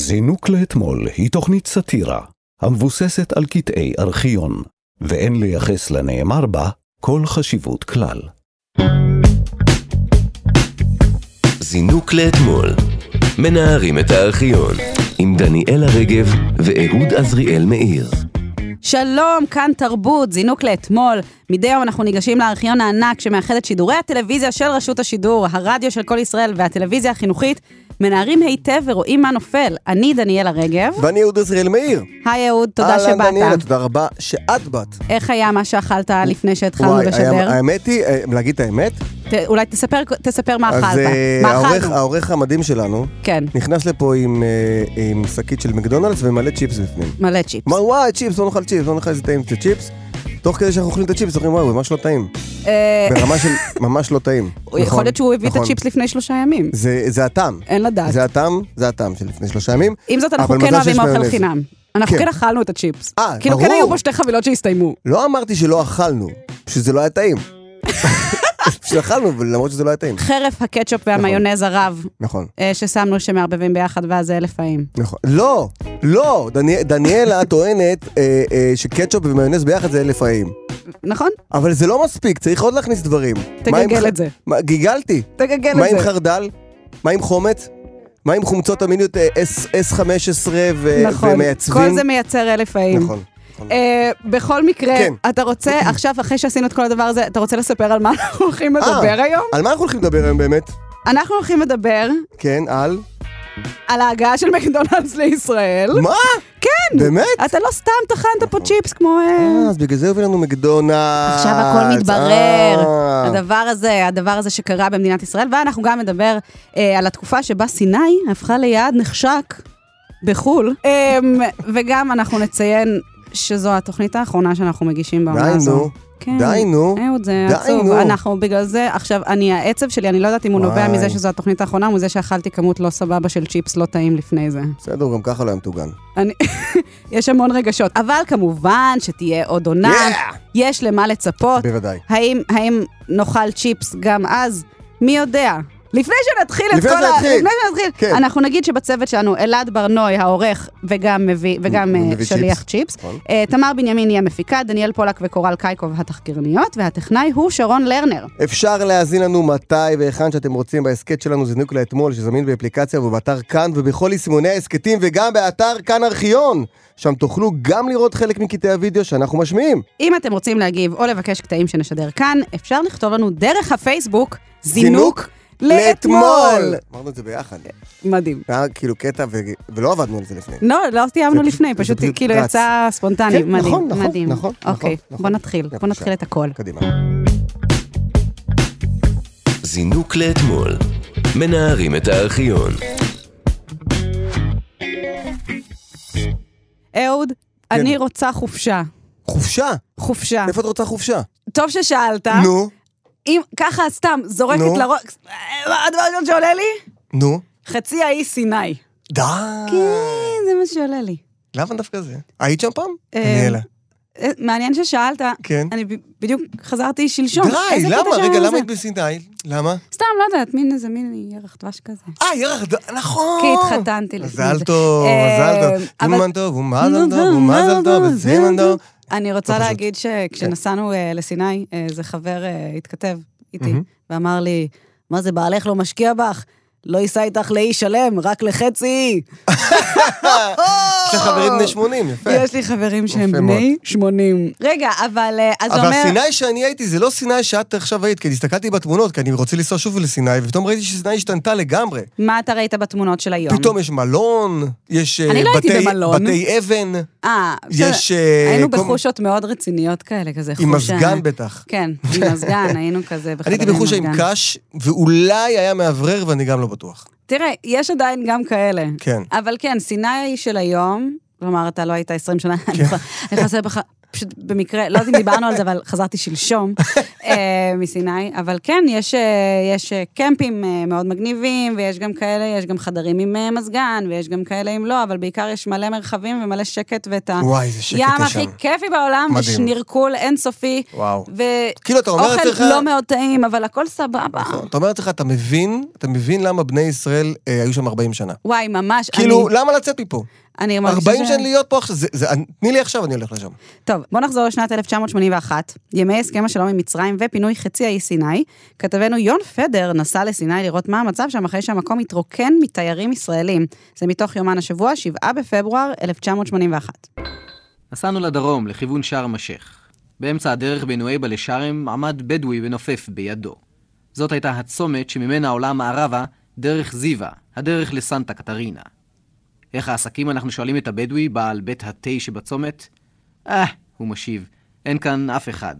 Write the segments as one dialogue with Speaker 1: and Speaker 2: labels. Speaker 1: זינוק לאתמול היא תוכנית סאטירה המבוססת על קטעי ארכיון, ואין לייחס לנאמר בה כל חשיבות כלל.
Speaker 2: זינוק לאתמול. מנערים את הארכיון עם דניאלה רגב ואהוד עזריאל מאיר.
Speaker 3: שלום, כאן תרבות, זינוק לאתמול. מדי יום אנחנו ניגשים לארכיון הענק שמאחד את שידורי הטלוויזיה של רשות השידור, הרדיו של כל ישראל והטלוויזיה החינוכית. מנערים היטב ורואים מה נופל. אני דניאלה רגב.
Speaker 4: ואני אהוד עזריאל מאיר.
Speaker 3: היי אהוד, תודה שבאת.
Speaker 4: אהלן דניאלה, תודה רבה שאת באת.
Speaker 3: איך היה מה שאכלת לפני שהתחלנו
Speaker 4: וואי,
Speaker 3: לשדר?
Speaker 4: האמ- האמת היא, אה, להגיד את האמת,
Speaker 3: ת- אולי תספר תספר מה
Speaker 4: אז
Speaker 3: אכלת.
Speaker 4: אה,
Speaker 3: מה
Speaker 4: העורך-
Speaker 3: אכלנו?
Speaker 4: העורך המדהים שלנו
Speaker 3: כן,
Speaker 4: נכנס לפה עם, אה, עם שקית של מקדונלדס ומלא צ'יפס בפנים.
Speaker 3: מלא צ'יפס.
Speaker 4: אמר וואי, צ'יפס, לא נאכל צ'יפס, לא נאכל איזה טעים זה צ'יפס. תוך כדי שאנחנו אוכלים את הצ'יפס, אומרים וואי, הוא ממש לא טעים.
Speaker 3: אה,
Speaker 4: ברמה של ממש לא טעים.
Speaker 3: יכול
Speaker 4: נכון,
Speaker 3: להיות שהוא הביא את
Speaker 4: נכון.
Speaker 3: הצ'יפס לפני שלושה ימים.
Speaker 4: זה זה הטעם.
Speaker 3: אין לדעת.
Speaker 4: זה הטעם, זה הטעם של לפני שלושה ימים.
Speaker 3: עם זאת, אנחנו
Speaker 4: אבל
Speaker 3: כן
Speaker 4: מזל
Speaker 3: אוהבים
Speaker 4: שיש
Speaker 3: אוכל
Speaker 4: מיונז.
Speaker 3: חינם. אנחנו
Speaker 4: כן.
Speaker 3: כן אכלנו את הצ'יפס.
Speaker 4: אה,
Speaker 3: כאילו, כן
Speaker 4: ברור.
Speaker 3: היו פה שתי חבילות שהסתיימו.
Speaker 4: לא אמרתי שלא אכלנו, שזה לא היה טעים. שאכלנו, אבל למרות שזה לא היה טעים.
Speaker 3: חרף הקטשופ והמיונז הרב
Speaker 4: נכון.
Speaker 3: אה, ששמנו שמערבבים ביחד ואז זה אלף האם.
Speaker 4: נכון. לא, לא, דני, דניאלה טוענת אה, אה, שקטשופ ומיונז ביחד זה אלף רעים.
Speaker 3: נכון?
Speaker 4: אבל זה לא מספיק, צריך עוד להכניס דברים. מה עם
Speaker 3: תגלגל
Speaker 4: ח-
Speaker 3: את זה.
Speaker 4: מה, גיגלתי.
Speaker 3: תגלגל
Speaker 4: מה עם
Speaker 3: את זה.
Speaker 4: חרדל? מה עם חומץ? מה עם חומצות אמיניות אה, S- S15 ו-
Speaker 3: נכון.
Speaker 4: ומייצבים?
Speaker 3: כל זה מייצר אלף האם.
Speaker 4: נכון.
Speaker 3: אה, בכל מקרה,
Speaker 4: כן.
Speaker 3: אתה רוצה, עכשיו, אחרי שעשינו את כל הדבר הזה, אתה רוצה לספר על מה אנחנו הולכים
Speaker 4: אה,
Speaker 3: לדבר היום?
Speaker 4: על מה אנחנו הולכים לדבר היום באמת?
Speaker 3: אנחנו הולכים לדבר
Speaker 4: כן, על?
Speaker 3: על ההגעה של מקדונלדס לישראל.
Speaker 4: מה?
Speaker 3: כן!
Speaker 4: באמת?
Speaker 3: אתה לא סתם טחנת פה צ'יפס כמו... אה,
Speaker 4: אה, אז בגלל זה הביא לנו מקדונלדס.
Speaker 3: עכשיו הכל מתברר.
Speaker 4: אה.
Speaker 3: הדבר הזה, הדבר הזה שקרה במדינת ישראל, ואנחנו גם נדבר אה, על התקופה שבה סיני הפכה ליעד נחשק בחו"ל, אה, וגם אנחנו נציין שזו התוכנית האחרונה שאנחנו מגישים בעונה
Speaker 4: די
Speaker 3: הזו.
Speaker 4: נו,
Speaker 3: כן.
Speaker 4: די נו.
Speaker 3: אהוד, זה
Speaker 4: די,
Speaker 3: עצוב.
Speaker 4: נו.
Speaker 3: אנחנו בגלל זה, עכשיו, אני, העצב שלי, אני לא יודעת אם הוא נובע
Speaker 4: וואי.
Speaker 3: מזה שזו התוכנית האחרונה, מזה שאכלתי כמות לא סבבה של צ'יפס לא טעים לפני זה.
Speaker 4: בסדר, הוא גם ככה לא היה מטוגן.
Speaker 3: אני... יש המון רגשות. אבל כמובן שתהיה עוד עונה,
Speaker 4: Yeah!
Speaker 3: יש למה לצפות.
Speaker 4: בוודאי.
Speaker 3: האם, האם נאכל צ'יפס גם אז? מי יודע? לפני שנתחיל את
Speaker 4: לפני
Speaker 3: כל ה...
Speaker 4: שנתחיל.
Speaker 3: לפני שנתחיל,
Speaker 4: כן.
Speaker 3: אנחנו נגיד שבצוות שלנו אלעד ברנוי העורך וגם, מביא, וגם
Speaker 4: הוא
Speaker 3: אה,
Speaker 4: מביא
Speaker 3: שליח צ'יפס.
Speaker 4: נכון.
Speaker 3: אה, תמר בנימין היא המפיקה, דניאל פולק וקורל קייקוב התחקירניות, והטכנאי הוא שרון לרנר.
Speaker 4: אפשר להאזין לנו מתי והיכן שאתם רוצים בהסכת שלנו זינוק לאתמול, שזמין באפליקציה ובאתר כאן ובכל יישומוני ההסכתים וגם באתר כאן ארכיון, שם תוכלו גם לראות חלק מקטעי הוידאו שאנחנו משמיעים.
Speaker 3: אם אתם רוצים להגיב או לבקש קטעים שנשדר כאן, אפשר לכתוב לנו דרך הפייסבוק זינוק
Speaker 4: זינוק
Speaker 3: לאתמול.
Speaker 4: אמרנו את זה ביחד.
Speaker 3: מדהים.
Speaker 4: זה היה כאילו קטע ו- ולא עבדנו על זה לפני.
Speaker 3: לא, לא סיימנו
Speaker 4: זה
Speaker 3: לפני,
Speaker 4: פשוט-
Speaker 3: פשוט
Speaker 4: זה פשוט
Speaker 3: כאילו
Speaker 4: רץ.
Speaker 3: יצא ספונטני,
Speaker 4: כן,
Speaker 3: מדהים,
Speaker 4: נכון, נכון,
Speaker 3: מדהים.
Speaker 4: נכון, נכון,
Speaker 3: אוקיי,
Speaker 4: נכון.
Speaker 3: בוא נתחיל, בוא
Speaker 4: בבקשה.
Speaker 3: נתחיל את הכל.
Speaker 4: קדימה.
Speaker 2: זינוק לאתמול. מנערים את הארכיון
Speaker 4: כן.
Speaker 3: אהוד, אני רוצה חופשה.
Speaker 4: חופשה?
Speaker 3: חופשה.
Speaker 4: איפה את רוצה חופשה?
Speaker 3: טוב ששאלת.
Speaker 4: נו,
Speaker 3: אם ככה סתם זורקת
Speaker 4: נו.
Speaker 3: לראש... אה, מה הדבר הראשון שעולה לי?
Speaker 4: נו.
Speaker 3: חצי האי
Speaker 4: אה.
Speaker 3: סיני.
Speaker 4: די.
Speaker 3: כן, זה מה שעולה לי.
Speaker 4: למה דווקא זה? היית שם פעם?
Speaker 3: אה,
Speaker 4: דניאלה.
Speaker 3: אה, מעניין ששאלת.
Speaker 4: כן.
Speaker 3: אני ב- בדיוק חזרתי שלשום.
Speaker 4: די,
Speaker 3: איזה קטע
Speaker 4: למה?
Speaker 3: שהיה
Speaker 4: רגע, למה
Speaker 3: זה?
Speaker 4: היית בסיני? למה?
Speaker 3: סתם, לא יודעת, מין איזה מין ירח דבש כזה.
Speaker 4: אה, ירח, ד- נכון.
Speaker 3: כי התחתנתי לפני
Speaker 4: מזל
Speaker 3: זה.
Speaker 4: טוב,
Speaker 3: אה,
Speaker 4: מזל טוב.
Speaker 3: אבל- אה,
Speaker 4: אומן טוב, ומזל טוב, ומזל טוב, וסימן טוב.
Speaker 3: אני רוצה
Speaker 4: לא פשוט.
Speaker 3: להגיד שכשנסענו אה, לסיני, אה, איזה חבר אה, התכתב איתי, ואמר לי, מה זה, בעלך לא משקיע בך? לא ייסע איתך לאי שלם, רק לחצי.
Speaker 4: יש לך חברים בני 80, יפה.
Speaker 3: אה, יש לי חברים שהם
Speaker 4: יפה
Speaker 3: בני 80. רגע, אבל אה, אז הוא
Speaker 4: אבל
Speaker 3: אומר...
Speaker 4: הסיני שאני הייתי, זה לא סיני שאת עכשיו היית, כי אני הסתכלתי בתמונות, כי אני רוצה לנסוע שוב לסיני, ופתאום ראיתי שסיני השתנתה לגמרי.
Speaker 3: מה אתה ראית בתמונות של היום?
Speaker 4: פתאום יש מלון, יש אה,
Speaker 3: כן. אני לא הייתי
Speaker 4: בתי-
Speaker 3: במלון.
Speaker 4: בתי אבן,
Speaker 3: אה, בסדר.
Speaker 4: יש, אה,
Speaker 3: היינו
Speaker 4: כל-
Speaker 3: בחושות מאוד רציניות כאלה, כזה חושה...
Speaker 4: עם מזגן בטח.
Speaker 3: כן, עם מזגן, היינו כזה בחדר
Speaker 4: אני הייתי
Speaker 3: עם
Speaker 4: בחושה עם
Speaker 3: מזגן.
Speaker 4: קש, ואולי היה מאוורר, ואני גם לא בטוח.
Speaker 3: תראה, יש עדיין גם כאלה.
Speaker 4: כן.
Speaker 3: אבל כן, סיני של היום, כלומר, אתה לא היית 20 שנה, אני יכולה- אני יכולה לעשות בך פשוט במקרה, לא יודעת אם דיברנו על זה, אבל חזרתי שלשום אה, מסיני, אבל כן, יש, אה, יש אה, קמפים אה, מאוד מגניבים, ויש גם כאלה, יש גם חדרים עם אה, מזגן, ויש גם כאלה עם לא, אבל בעיקר יש מלא מרחבים ומלא שקט, ואת ה...
Speaker 4: וואי, איזה שקט
Speaker 3: ים
Speaker 4: יש שם.
Speaker 3: הכי כיפי בעולם,
Speaker 4: מדהים.
Speaker 3: ושנירקול אינסופי.
Speaker 4: וואו.
Speaker 3: ו...
Speaker 4: כאילו, אתה אומר לעצמך-
Speaker 3: אוכל לא מאוד טעים, אבל הכל סבבה.
Speaker 4: נכון. אתה אומר לעצמך, אתה מבין, אתה מבין למה בני ישראל אה, היו שם 40 שנה.
Speaker 3: וואי, ממש.
Speaker 4: כאילו,
Speaker 3: אני-
Speaker 4: למה לצאת מפה?
Speaker 3: אני מרגישה
Speaker 4: 40
Speaker 3: ש-
Speaker 4: שנה להיות פה עכשיו, זה- זה- תני לי עכשיו, אני הולך לשם.
Speaker 3: טוב, בואו נחזור לשנת 1981, ימי הסכם השלום עם מצרים ופינוי חצי האי סיני. כתבנו יון פדר נסע לסיני לראות מה המצב שם אחרי שהמקום התרוקן מתיירים ישראלים. זה מתוך יומן השבוע, 7 בפברואר 1981.
Speaker 5: נסענו לדרום, לכיוון שער משך. באמצע הדרך בין נואיבה לשארם עמד בדואי ונופף בידו. זאת הייתה הצומת שממנה עולה מערבה דרך זיווה, הדרך לסנטה קטרינה. איך העסקים אנחנו שואלים את הבדואי, בעל בית התה שבצומת? אה, הוא משיב, אין כאן אף אחד.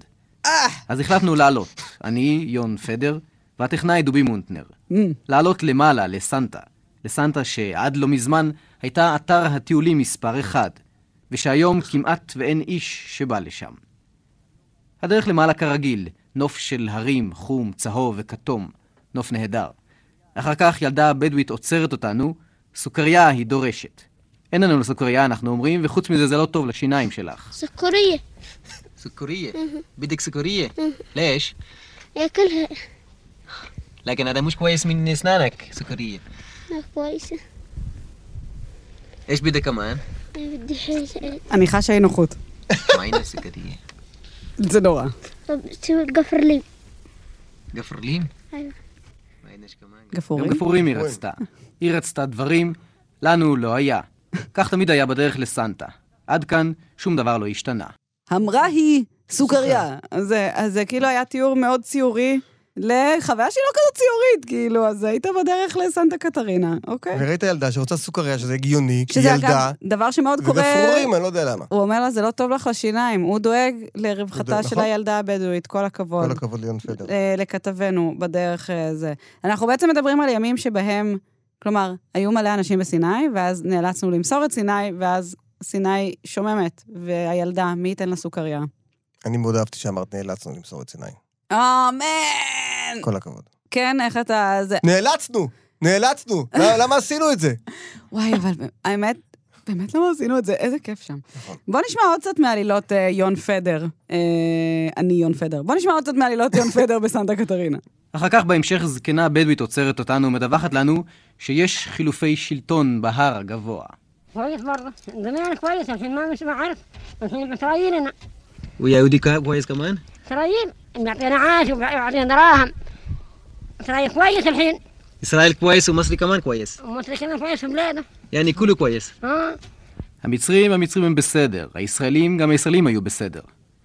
Speaker 5: אה! אז החלטנו לעלות, אני, יון פדר, והטכנאי דובי מונטנר.
Speaker 3: Mm.
Speaker 5: לעלות למעלה, לסנטה. לסנטה שעד לא מזמן הייתה אתר הטיולים מספר אחד, ושהיום כמעט ואין איש שבא לשם. הדרך למעלה כרגיל, נוף של הרים, חום, צהוב וכתום, נוף נהדר. אחר כך ילדה בדואית עוצרת אותנו, סוכריה היא דורשת. אין לנו סוכריה, אנחנו אומרים, וחוץ מזה זה לא טוב לשיניים שלך.
Speaker 6: سكرية
Speaker 5: סוכריה? בדיוק סוכריה? לש?
Speaker 6: ياكلها
Speaker 5: لكن هذا مش كويس من اسنانك سكريه
Speaker 6: ما كويسة
Speaker 5: ايش بدك كمان
Speaker 6: أنا بدي حاجة
Speaker 3: אני חשה אי נוחות.
Speaker 5: معينه سكريه
Speaker 3: זה נורא.
Speaker 6: طب شو القفر لي
Speaker 5: قفر ليم
Speaker 6: أيوة.
Speaker 5: معينش كمان
Speaker 3: גפורים.
Speaker 5: גם גפורים היא רצתה. היא רצתה דברים, לנו לא היה. כך תמיד היה בדרך לסנטה. עד כאן שום דבר לא השתנה.
Speaker 3: אמרה היא סוכריה. אז זה- אז זה כאילו היה תיאור מאוד ציורי לחוויה שהיא לא כזאת ציורית, כאילו, אז היית בדרך לסנטה קטרינה, אוקיי?
Speaker 4: וראית ילדה שרוצה סוכריה, שזה הגיוני, כי
Speaker 3: שזה
Speaker 4: ילדה,
Speaker 3: אגב דבר שמאוד קורה...
Speaker 4: וגפרורים, אני לא יודע למה.
Speaker 3: הוא אומר לה, זה לא טוב לך לשיניים, הוא דואג
Speaker 4: הוא
Speaker 3: לרווחתה
Speaker 4: דואג,
Speaker 3: של
Speaker 4: נכון.
Speaker 3: הילדה הבדואית, כל הכבוד.
Speaker 4: כל הכבוד ליון פדר.
Speaker 3: נכון. אה, לכתבנו בדרך אה, זה. אנחנו בעצם מדברים על ימים שבהם, כלומר, היו מלא אנשים בסיני, ואז נאלצנו למסור את סיני, ואז סיני שוממת, והילדה, מי ייתן לה סוכריה?
Speaker 4: אני מאוד אהבתי שאמרת, נאלצנו למסור את סיני.
Speaker 3: אמן!
Speaker 4: כל הכבוד.
Speaker 3: כן, איך אתה... זה...
Speaker 4: נאלצנו! נאלצנו!
Speaker 3: אה.
Speaker 4: למה- למה עשינו את זה?
Speaker 3: וואי, אבל האמת, באמת למה עשינו את זה? איזה כיף שם.
Speaker 4: נכון.
Speaker 3: בוא נשמע עוד קצת מעלילות אה, יון פדר. אה, אני יון פדר. בוא נשמע עוד קצת מעלילות יון פדר בסנטה קטרינה.
Speaker 5: אחר כך בהמשך זקנה בדואית עוצרת אותנו ומדווחת לנו שיש חילופי שלטון בהר הגבוה.
Speaker 7: كويس طيب برضه زمان كويس عشان ما مش عارف بس مترايلنا
Speaker 5: ויהודי קווייז כמובן?
Speaker 7: مترايل بيعطينا عاش وبيعطينا دراهم مترايل كويس الحين
Speaker 5: ישראל קווייז ומסרי כמובן קווייז.
Speaker 7: ومتركين كويس في بلاده
Speaker 5: יעני כולו קווייז.
Speaker 7: ها
Speaker 5: המצרים, המצרים הם בסדר. הישראלים, גם הישראלים היו בסדר.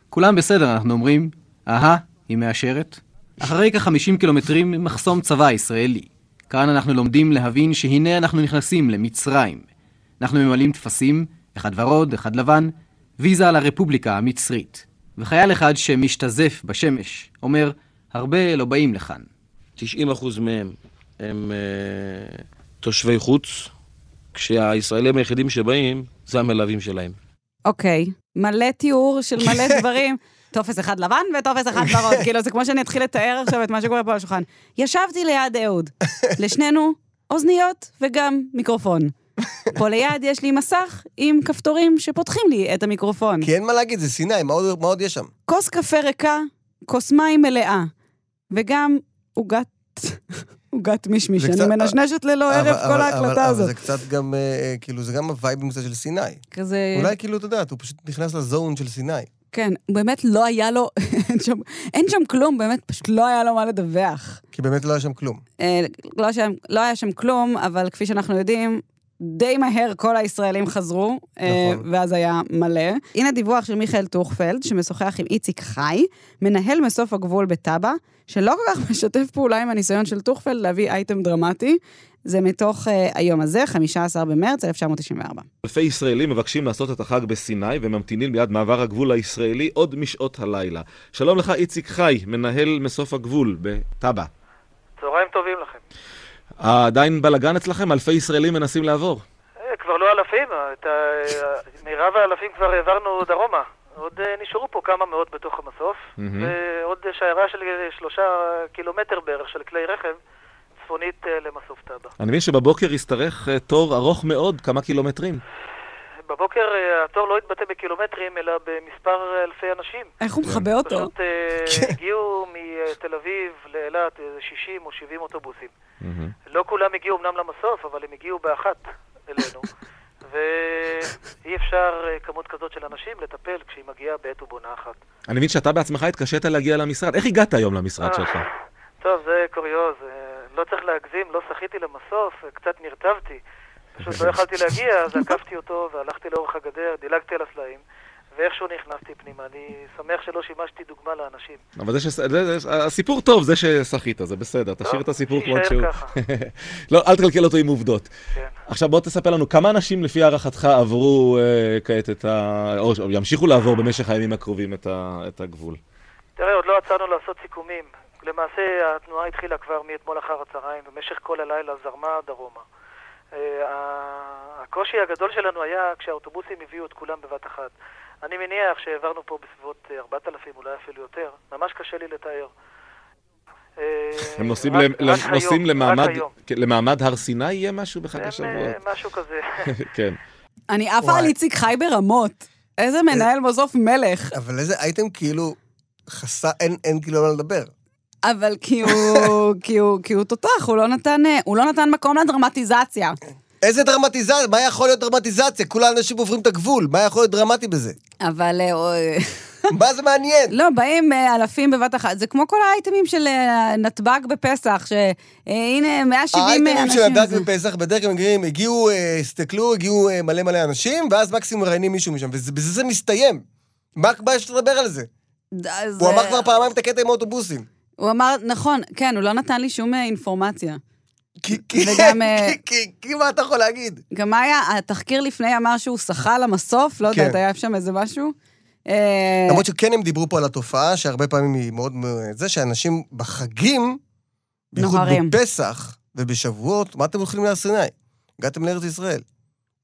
Speaker 5: כולם בסדר, אנחנו אומרים, אהה, היא מאשרת. אחרי כ-50 קילומטרים, מחסום צבא ישראלי. כאן אנחנו לומדים להבין שהנה אנחנו נכנסים למצרים. אנחנו ממלאים טפסים, אחד ורוד, אחד לבן, ויזה לרפובליקה המצרית. וחייל אחד שמשתזף בשמש, אומר, הרבה לא באים לכאן.
Speaker 8: 90% מהם הם אה, תושבי חוץ, כשהישראלים היחידים שבאים זה המלווים שלהם.
Speaker 3: אוקיי, מלא תיאור של מלא דברים. טופס אחד לבן וטופס אחד ורוד. כאילו, זה כמו שאני אתחיל לתאר עכשיו את מה שקורה פה על השולחן. ישבתי ליד אהוד. לשנינו אוזניות וגם מיקרופון. פה ליד יש לי מסך עם כפתורים שפותחים לי את המיקרופון.
Speaker 4: כי אין מה להגיד, זה סיני, מה עוד- מה עוד יש שם?
Speaker 3: כוס קפה ריקה, כוס מים מלאה, וגם עוגת... עוגת מישמיש,
Speaker 4: זה
Speaker 3: אני
Speaker 4: קצת-
Speaker 3: מנשנשת ללא הרף
Speaker 4: אבל- אבל-
Speaker 3: כל
Speaker 4: אבל-
Speaker 3: ההקלטה
Speaker 4: אבל
Speaker 3: הזאת. אה.
Speaker 4: זה קצת גם, אה, כאילו, זה גם הווייבים הזה של סיני.
Speaker 3: כזה...
Speaker 4: אולי כאילו, אתה יודעת, הוא פשוט נכנס לזון של סיני.
Speaker 3: כן, באמת לא היה לו... אין שם- אין שם כלום, באמת פשוט לא היה לו מה לדווח.
Speaker 4: כי באמת לא היה שם כלום.
Speaker 3: אה, לא שם- לא היה שם כלום, אבל כפי שאנחנו יודעים, די מהר כל הישראלים חזרו, אה,
Speaker 4: נכון.
Speaker 3: ואז היה מלא. הנה דיווח של מיכאל טוכפלד, שמשוחח עם איציק חי, מנהל מסוף הגבול בטאבה, שלא כל כך משתף פעולה עם הניסיון של טוכפלד להביא אייטם דרמטי. זה מתוך אה, היום הזה, 15 במרץ 1994.
Speaker 9: אלפי ישראלים מבקשים לעשות את החג בסיני וממתינים ליד מעבר הגבול הישראלי עוד משעות הלילה. שלום לך איציק חי, מנהל מסוף הגבול בטאבה.
Speaker 10: צהריים טובים לכם.
Speaker 9: עדיין בלאגן אצלכם? אלפי ישראלים מנסים לעבור.
Speaker 10: אה, כבר לא אלפים, את ה- אה, מירב האלפים כבר העברנו דרומה. עוד אה, נשארו פה כמה מאות בתוך המסוף,
Speaker 9: מהמם.
Speaker 10: ועוד שיירה של אה, שלושה קילומטר בערך של כלי רכב צפונית אה, למסוף טאבה.
Speaker 9: אני מבין שבבוקר ישתרך אה, תור ארוך מאוד, כמה קילומטרים.
Speaker 10: בבוקר אה, התור לא התבטא בקילומטרים, אלא במספר אלפי אנשים.
Speaker 3: איך הוא מכבה אותו?
Speaker 10: פשוט אה, הגיעו מתל אביב לאילת איזה 60 או 70 אוטובוסים. לא כולם הגיעו אמנם למסוף, אבל הם הגיעו באחת אלינו. ואי אפשר אה, כמות כזאת של אנשים לטפל כשהיא מגיעה בעת ובעונה אחת.
Speaker 9: אני מבין שאתה בעצמך התקשית להגיע למשרד. איך הגעת היום למשרד שלך?
Speaker 10: אה, טוב, זה קוריוז. אה, לא צריך להגזים, לא שחיתי למסוף, אה, קצת נרטבתי. פשוט לא יכלתי להגיע, אז עקפתי אותו והלכתי לאורך הגדר, דילגתי על הסלעים, ואיכשהו נכנסתי פנימה. אני שמח שלא שימשתי דוגמה לאנשים.
Speaker 9: אבל זה ש... זה- זה- הסיפור טוב, זה שסחית, זה בסדר, תשאיר את הסיפור כמו
Speaker 10: שיישאר
Speaker 9: שהוא.
Speaker 10: ככה.
Speaker 9: לא, אל תקלקל אותו עם עובדות.
Speaker 10: כן.
Speaker 9: עכשיו בוא תספר לנו, כמה אנשים לפי הערכתך עברו אה, כעת את ה... או ש- או ימשיכו לעבור במשך הימים הקרובים את ה- את הגבול?
Speaker 10: תראה, עוד לא יצאנו לעשות סיכומים. למעשה, התנועה התחילה כבר מאתמול אחר הצהריים, במשך כל הלילה זרמה דרומה. אה, ה- הקושי הגדול שלנו היה כשהאוטובוסים הביאו את כולם בבת אחת. אני מניח שהעברנו פה בסביבות אה, 4,000, אולי אפילו יותר. ממש קשה לי לתאר. אה,
Speaker 9: הם נוסעים
Speaker 10: רק-
Speaker 9: למ-
Speaker 10: רק היום,
Speaker 9: נוסעים
Speaker 10: רק
Speaker 9: למעמד-
Speaker 10: היום.
Speaker 9: כן, למעמד הר סיני יהיה משהו בחג
Speaker 10: הם, אה,
Speaker 9: השבועות?
Speaker 10: משהו כזה.
Speaker 9: כן.
Speaker 3: אני עפה על איציק חי ברמות. איזה מנהל מוסוף מלך.
Speaker 4: אבל איזה אייטם כאילו חסר, אין, אין כאילו על מה לדבר.
Speaker 3: אבל כי הוא, כי הוא, כי הוא תותח, הוא לא נתן, אה, הוא לא נתן מקום לדרמטיזציה.
Speaker 4: איזה דרמטיזציה? מה יכול להיות דרמטיזציה? כל האנשים עוברים את הגבול, מה יכול להיות דרמטי בזה?
Speaker 3: אבל אה, אה,
Speaker 4: מה זה מעניין?
Speaker 3: לא, באים אה, אלפים בבת אחת. זה כמו כל האייטמים של אה, נתב"ג בפסח, אה, שהנה 170 אנשים.
Speaker 4: האייטמים של הדג
Speaker 3: זה-
Speaker 4: בפסח בדרך כלל מגיעים, הגיעו, אה, הסתכלו, הגיעו אה, מלא מלא אנשים, ואז מקסימום מראיינים מישהו משם, ובזה זה מסתיים. מה מה יש לדבר על זה?
Speaker 3: אז,
Speaker 4: הוא אמר
Speaker 3: אה,
Speaker 4: כבר פעמיים את הקטע עם האוטובוסים.
Speaker 3: הוא אמר, נכון, כן, הוא לא נתן לי שום אה, אינפורמציה.
Speaker 4: כי- כי-
Speaker 3: וגם, אה,
Speaker 4: כי- כי- כי מה אתה יכול להגיד?
Speaker 3: גם מה היה, התחקיר לפני אמר שהוא שחה למסוף, לא
Speaker 4: כן.
Speaker 3: יודעת, היה שם איזה משהו? אה,
Speaker 4: למרות שכן הם דיברו פה על התופעה, שהרבה פעמים היא מאוד... מאוד- זה שאנשים בחגים, בייחוד
Speaker 3: נוהרים.
Speaker 4: בפסח ובשבועות, מה אתם הולכים להר סיני? הגעתם לארץ ישראל.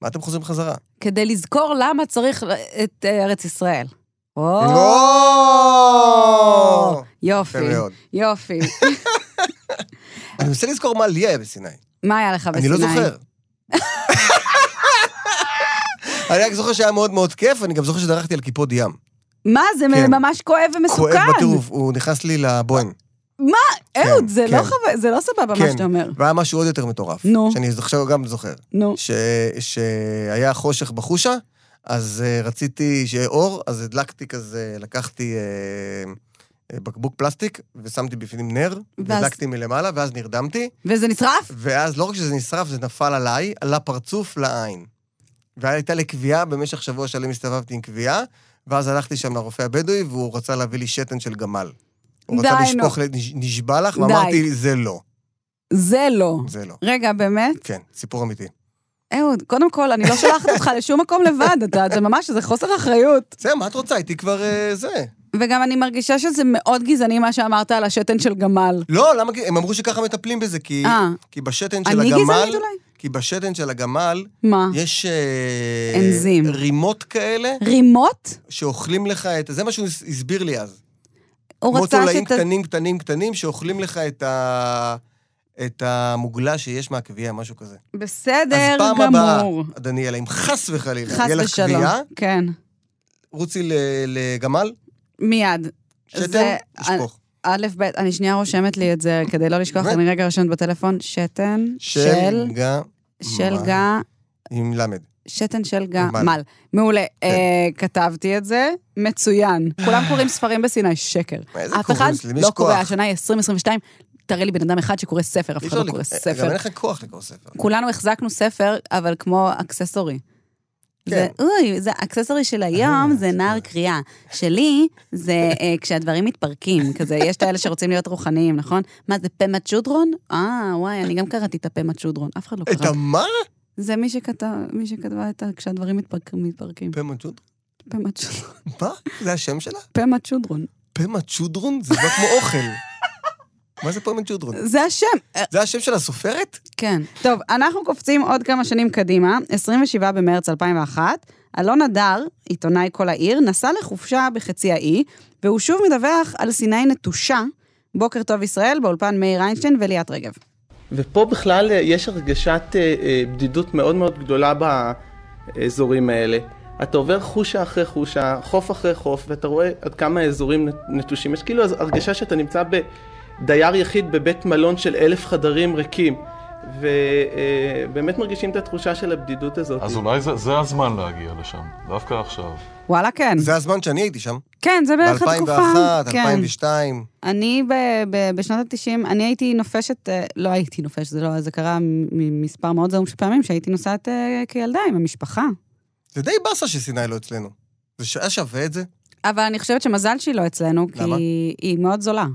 Speaker 4: מה אתם חוזרים חזרה?
Speaker 3: כדי לזכור למה צריך את אה, ארץ ישראל. או,
Speaker 4: או!
Speaker 3: יופי,
Speaker 4: לא! יפה כן, מאוד.
Speaker 3: יופי.
Speaker 4: אני מנסה לזכור מה לי היה בסיני.
Speaker 3: מה היה לך בסיני?
Speaker 4: אני לא זוכר. אני רק זוכר שהיה מאוד מאוד כיף, אני גם זוכר שדרכתי על קיפוד ים.
Speaker 3: מה, זה
Speaker 4: כן.
Speaker 3: ממש כואב ומסוכן.
Speaker 4: כואב בטירוף, הוא נכנס לי לבוהן.
Speaker 3: אהוד, זה
Speaker 4: כן.
Speaker 3: לא חו- זה לא סבבה מה
Speaker 4: כן.
Speaker 3: שאתה אומר.
Speaker 4: והיה משהו עוד יותר מטורף.
Speaker 3: נו.
Speaker 4: שאני עכשיו גם זוכר.
Speaker 3: נו.
Speaker 4: ש... שהיה חושך בחושה, אז אה, רציתי שיהיה אור, אז הדלקתי כזה, לקחתי אה, אה, בקבוק פלסטיק ושמתי בפנים נר,
Speaker 3: ואז-
Speaker 4: והדלקתי מלמעלה, ואז נרדמתי,
Speaker 3: וזה נשרף?
Speaker 4: ואז לא רק שזה נשרף, זה נפל עליי, על הפרצוף לעין. והייתה לי כוויה, במשך שבוע שלם הסתובבתי עם כוויה, ואז הלכתי שם לרופא הבדואי, והוא רצה להביא לי שתן של גמל. הוא
Speaker 3: די,
Speaker 4: רצה
Speaker 3: נו.
Speaker 4: לשפוך, לי, "נש- נשבע לך,
Speaker 3: די.
Speaker 4: ואמרתי, זה לא,
Speaker 3: זה לא.
Speaker 4: זה לא.
Speaker 3: רגע, באמת?
Speaker 4: כן, סיפור אמיתי.
Speaker 3: אהוד, קודם כל, אני לא שולחת אותך לשום מקום לבד, אתה, זה ממש, זה חוסר אחריות.
Speaker 4: זה, מה את רוצה? הייתי כבר אה, זה.
Speaker 3: וגם אני מרגישה שזה מאוד גזעני מה שאמרת על השתן של גמל.
Speaker 4: לא, למה? כי- הם אמרו שככה מטפלים בזה, כי,
Speaker 3: אה.
Speaker 4: כי בשתן של
Speaker 3: אני
Speaker 4: הגמל,
Speaker 3: גזענית אולי?
Speaker 4: כי בשתן של הגמל
Speaker 3: מה?
Speaker 4: יש... אה,
Speaker 3: אנזים.
Speaker 4: רימות כאלה,
Speaker 3: רימות?
Speaker 4: שאוכלים לך את... זה מה שהוא הס- הסביר לי אז.
Speaker 3: הוא
Speaker 4: כמו
Speaker 3: רצה
Speaker 4: תולעים
Speaker 3: שאתה...
Speaker 4: קטנים, קטנים, קטנים, שאוכלים לך את ה... את המוגלה שיש מהקביעה, משהו כזה.
Speaker 3: בסדר
Speaker 4: אז פעם הבאה,
Speaker 3: גמור.
Speaker 4: דניאלה, אם חס וחלילה,
Speaker 3: חס
Speaker 4: יהיה לך
Speaker 3: ושלום.
Speaker 4: קביעה,
Speaker 3: כן,
Speaker 4: רוצי ל- לגמל,
Speaker 3: מיד.
Speaker 4: שתן,
Speaker 3: זה-
Speaker 4: תשפוך.
Speaker 3: א', ב', אני שנייה רושמת לי את זה כדי לא לשכוח,
Speaker 4: באמת?
Speaker 3: אני רגע רושמת בטלפון, שתן של,
Speaker 4: של גמל.
Speaker 3: של גא,
Speaker 4: עם למד.
Speaker 3: שתן של גא,
Speaker 4: מל.
Speaker 3: מל. מעולה,
Speaker 4: כן.
Speaker 3: אה, כתבתי את זה, מצוין. כולם קוראים ספרים בסיני, שקר.
Speaker 4: מה, זה
Speaker 3: אף
Speaker 4: קוראים?
Speaker 3: אחד
Speaker 4: למי יש
Speaker 3: לא קורא,
Speaker 4: כוח?
Speaker 3: השנה היא 2022, תראה לי בן אדם אחד שקורא ספר, אף
Speaker 4: אי
Speaker 3: אחד
Speaker 4: אפשר
Speaker 3: לא
Speaker 4: לקרוא-
Speaker 3: קורא
Speaker 4: גם
Speaker 3: ספר.
Speaker 4: אין לך כוח לקרוא ספר.
Speaker 3: כולנו החזקנו ספר, אבל כמו אקססורי. זה, אוי, זה האקססורי של היום, זה נער קריאה. שלי, זה אה, כשהדברים מתפרקים, כזה, יש את האלה שרוצים להיות רוחניים, נכון? מה, זה פמה צ'ודרון? אה, וואי, אני גם קראתי את הפמה צ'ודרון, אף אחד לא
Speaker 4: את
Speaker 3: קרא.
Speaker 4: המה?
Speaker 3: זה מי שכתב, מי שכתבה את ה- כשהדברים מתפרק- מתפרקים.
Speaker 4: פמה צ'ודרון?
Speaker 3: פמה צ'ודרון.
Speaker 4: מה? זה השם שלה?
Speaker 3: פמה צ'ודרון.
Speaker 4: פמה צ'ודרון? זה נשמע כמו אוכל. מה זה פרמן צ'ודרון?
Speaker 3: זה השם. אה,
Speaker 4: זה השם של הסופרת?
Speaker 3: כן. טוב, אנחנו קופצים עוד כמה שנים קדימה, 27 במרץ 2001, אלון הדר, עיתונאי כל העיר, נסע לחופשה בחצי האי, והוא שוב מדווח על סיני נטושה, בוקר טוב ישראל, באולפן מאיר איינשטיין וליאת רגב.
Speaker 11: ופה בכלל אה, יש הרגשת אה, אה, בדידות מאוד מאוד גדולה באזורים האלה. אתה עובר חושה אחרי חושה, חוף אחרי חוף, ואתה רואה עד כמה האזורים נ- נטושים. יש כאילו הרגשה שאתה נמצא בדייר יחיד בבית מלון של אלף חדרים ריקים, ובאמת מרגישים את התחושה של הבדידות הזאת.
Speaker 12: אז אולי זה, זה הזמן להגיע לשם, דווקא עכשיו.
Speaker 3: וואלה, כן.
Speaker 4: זה הזמן שאני הייתי שם.
Speaker 3: כן, זה בערך התקופה.
Speaker 4: ב-2001,
Speaker 3: כן.
Speaker 4: 2002.
Speaker 3: אני ב, ב, בשנות ה-90, אני הייתי נופשת, אה, לא הייתי נופשת, זה, לא, זה קרה מ- מספר מאוד זעום של פעמים, שהייתי נוסעת אה, כילדה עם המשפחה.
Speaker 4: זה די באסה שסיני לא אצלנו. זה ש- היה שווה את זה?
Speaker 3: אבל אני חושבת שמזל שהיא לא אצלנו,
Speaker 4: למה?
Speaker 3: כי היא מאוד זולה.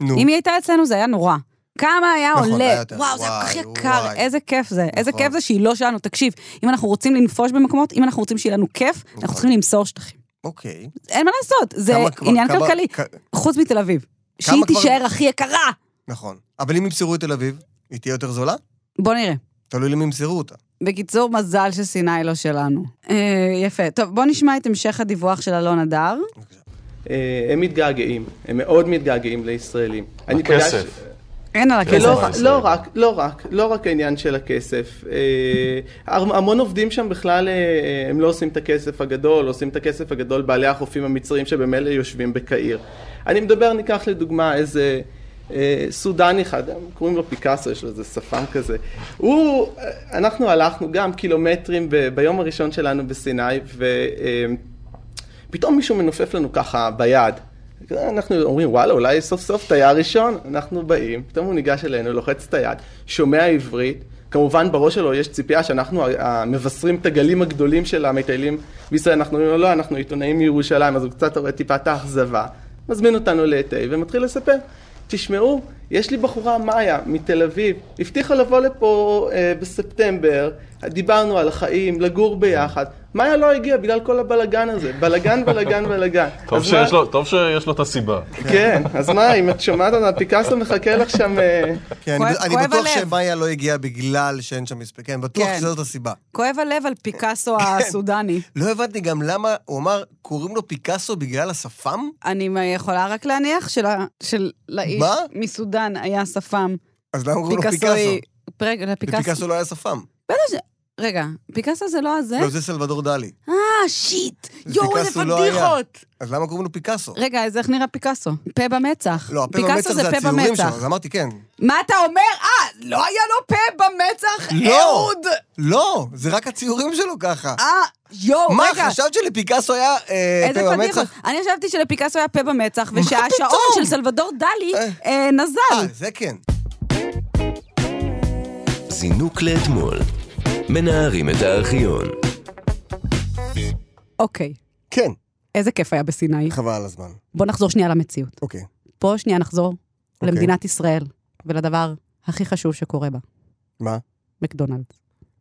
Speaker 4: נו.
Speaker 3: אם היא הייתה אצלנו זה היה נורא. כמה היה
Speaker 4: נכון, היה
Speaker 3: עולה,
Speaker 4: יותר.
Speaker 3: וואו, זה היה כל כך
Speaker 4: וואי,
Speaker 3: יקר,
Speaker 4: וואי.
Speaker 3: איזה כיף זה, איזה
Speaker 4: נכון.
Speaker 3: כיף זה שהיא לא שלנו. תקשיב, אם אנחנו רוצים לנפוש במקומות, אם אנחנו רוצים שיהיה לנו כיף,
Speaker 4: נכון.
Speaker 3: אנחנו צריכים למסור שטחים.
Speaker 4: אוקיי.
Speaker 3: אין מה לעשות, זה
Speaker 4: כמה כבר-
Speaker 3: עניין
Speaker 4: כמה-
Speaker 3: כלכלי,
Speaker 4: כ-
Speaker 3: חוץ מתל אביב.
Speaker 4: כמה
Speaker 3: שהיא
Speaker 4: כבר-
Speaker 3: תישאר הכי יקרה!
Speaker 4: נכון. אבל אם ימסרו את תל אביב, היא תהיה יותר זולה?
Speaker 3: בוא נראה.
Speaker 4: תלוי למי ימסרו אותה.
Speaker 3: בקיצור, מזל שסיני לא שלנו. אה, יפה. טוב, בוא נשמע את המשך הדיווח של אלון הדר.
Speaker 11: אה, הם מתגעגעים, הם מאוד מתגעגעים לישראלים. אני
Speaker 12: הכסף.
Speaker 11: פגשתי-
Speaker 3: אין על הכסף.
Speaker 11: לא, לא רק, לא רק, לא רק העניין של הכסף. אה, המ- המון עובדים שם בכלל, אה, הם לא עושים את הכסף הגדול, עושים את הכסף הגדול בעלי החופים המצריים שבמילא יושבים בקהיר. אני מדבר, ניקח לדוגמה איזה אה, סודני אחד, קוראים לו פיקאסו, יש לו איזה שפם כזה. הוא, אה, אנחנו הלכנו גם קילומטרים ב- ביום הראשון שלנו בסיני, ו... אה, פתאום מישהו מנופף לנו ככה ביד. אנחנו אומרים, וואלה, אולי סוף סוף תייר ראשון, אנחנו באים, פתאום הוא ניגש אלינו, לוחץ את היד, שומע עברית, כמובן בראש שלו יש ציפייה שאנחנו המבשרים את הגלים הגדולים של המטיילים בישראל, אנחנו אומרים לו, לא, אנחנו עיתונאים מירושלים, אז הוא קצת רואה טיפה את האכזבה, מזמין אותנו לתה ומתחיל לספר, תשמעו, יש לי בחורה מאיה מתל אביב, הבטיחה לבוא לפה אה, בספטמבר, דיברנו על החיים, לגור ביחד. מאיה לא הגיעה בגלל כל הבלגן הזה, בלגן, בלגן, בלגן.
Speaker 12: טוב
Speaker 11: אז מה-
Speaker 12: שיש, לו, טוב שיש לו את הסיבה.
Speaker 11: כן, אז מה, אם את שומעת אותה, פיקאסו מחכה לך שם... אה,
Speaker 4: כן, אני-
Speaker 3: כואב-
Speaker 4: אני
Speaker 3: כואב
Speaker 4: בטוח
Speaker 3: הלב.
Speaker 4: שמאיה לא הגיעה בגלל שאין שם מספיק. כן, בטוח
Speaker 3: כן.
Speaker 4: שזאת הסיבה.
Speaker 3: כואב הלב על פיקאסו
Speaker 4: כן.
Speaker 3: הסודני.
Speaker 4: לא הבנתי גם למה הוא אמר, קוראים לו פיקאסו בגלל השפם?
Speaker 3: אני יכולה רק להניח של ה- של לאיש
Speaker 4: מה?
Speaker 3: מסודן היה שפם.
Speaker 4: אז למה קוראים לו פיקאסו?
Speaker 3: פיקאסוי... פרג- לפיקאסו...
Speaker 4: לפיקאסו לא היה שפם.
Speaker 3: רגע, פיקאסו זה לא הזה?
Speaker 4: לא, זה סלבדור דלי.
Speaker 3: אה, שיט! יואו, איזה
Speaker 4: פיקאסו לא היה.
Speaker 3: פדיחות!
Speaker 4: אז למה קוראים לו פיקאסו?
Speaker 3: רגע, אז איך נראה פיקאסו? פה במצח.
Speaker 4: לא, הפה
Speaker 3: פיקאסו
Speaker 4: במצח זה הציורים שלו, אז אמרתי כן.
Speaker 3: מה אתה אומר? אה, לא היה לו פה במצח,
Speaker 4: לא.
Speaker 3: אהוד!
Speaker 4: לא, זה רק הציורים שלו ככה.
Speaker 3: אה, יואו,
Speaker 4: מה,
Speaker 3: רגע.
Speaker 4: חשבת שלפיקאסו היה אה,
Speaker 3: איזה
Speaker 4: פה
Speaker 3: פדיחות.
Speaker 4: במצח?
Speaker 3: אני חשבתי שלפיקאסו היה פה במצח, ושהשעון של
Speaker 4: פתאום?
Speaker 3: סלבדור דלי
Speaker 4: אה.
Speaker 3: אה,
Speaker 4: אה,
Speaker 3: נזל.
Speaker 4: זה כן.
Speaker 2: זינוק לאתמול. מנערים את הארכיון.
Speaker 3: אוקיי,
Speaker 4: כן.
Speaker 3: איזה כיף היה בסיני.
Speaker 4: חבל על הזמן.
Speaker 3: בוא נחזור שנייה למציאות.
Speaker 4: אוקיי.
Speaker 3: בוא שנייה נחזור
Speaker 4: אוקיי.
Speaker 3: למדינת ישראל, ולדבר הכי חשוב שקורה בה,
Speaker 4: מה?
Speaker 3: מקדונלדס.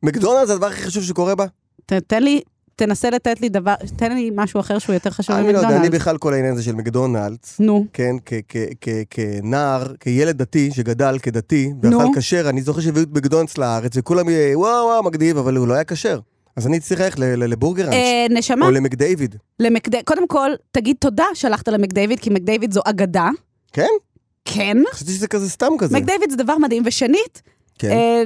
Speaker 4: מקדונלדס זה הדבר הכי חשוב שקורה בה?
Speaker 3: ת- תן לי, תנסה לתת לי דבר, תן לי משהו אחר שהוא יותר חשוב
Speaker 4: אני לא יודע, אני
Speaker 3: ממקדונלדס.
Speaker 4: בכלל כל העניין הזה של מקדונלדס.
Speaker 3: נו,
Speaker 4: כן, כ- כ- כ- כנער, כילד דתי שגדל כדתי, ואכל
Speaker 3: נו.
Speaker 4: כשר, אני זוכר שהביאו את מקדונלדס לארץ, וכולם אה, וואו וואו מגניב, אבל הוא לא היה כשר. אז אני צריך ללכת ל- ל- לבורגראנץ',
Speaker 3: אה, נשמה,
Speaker 4: או למקדייוויד.
Speaker 3: למקד... קודם כל, תגיד תודה שהלכת למקדייוויד, כי מקדייוויד זו אגדה.
Speaker 4: כן?
Speaker 3: כן.
Speaker 4: חשבתי שזה כזה סתם כזה.
Speaker 3: מקדייוויד זה דבר מדהים. ושנית,
Speaker 4: כן.
Speaker 3: אה,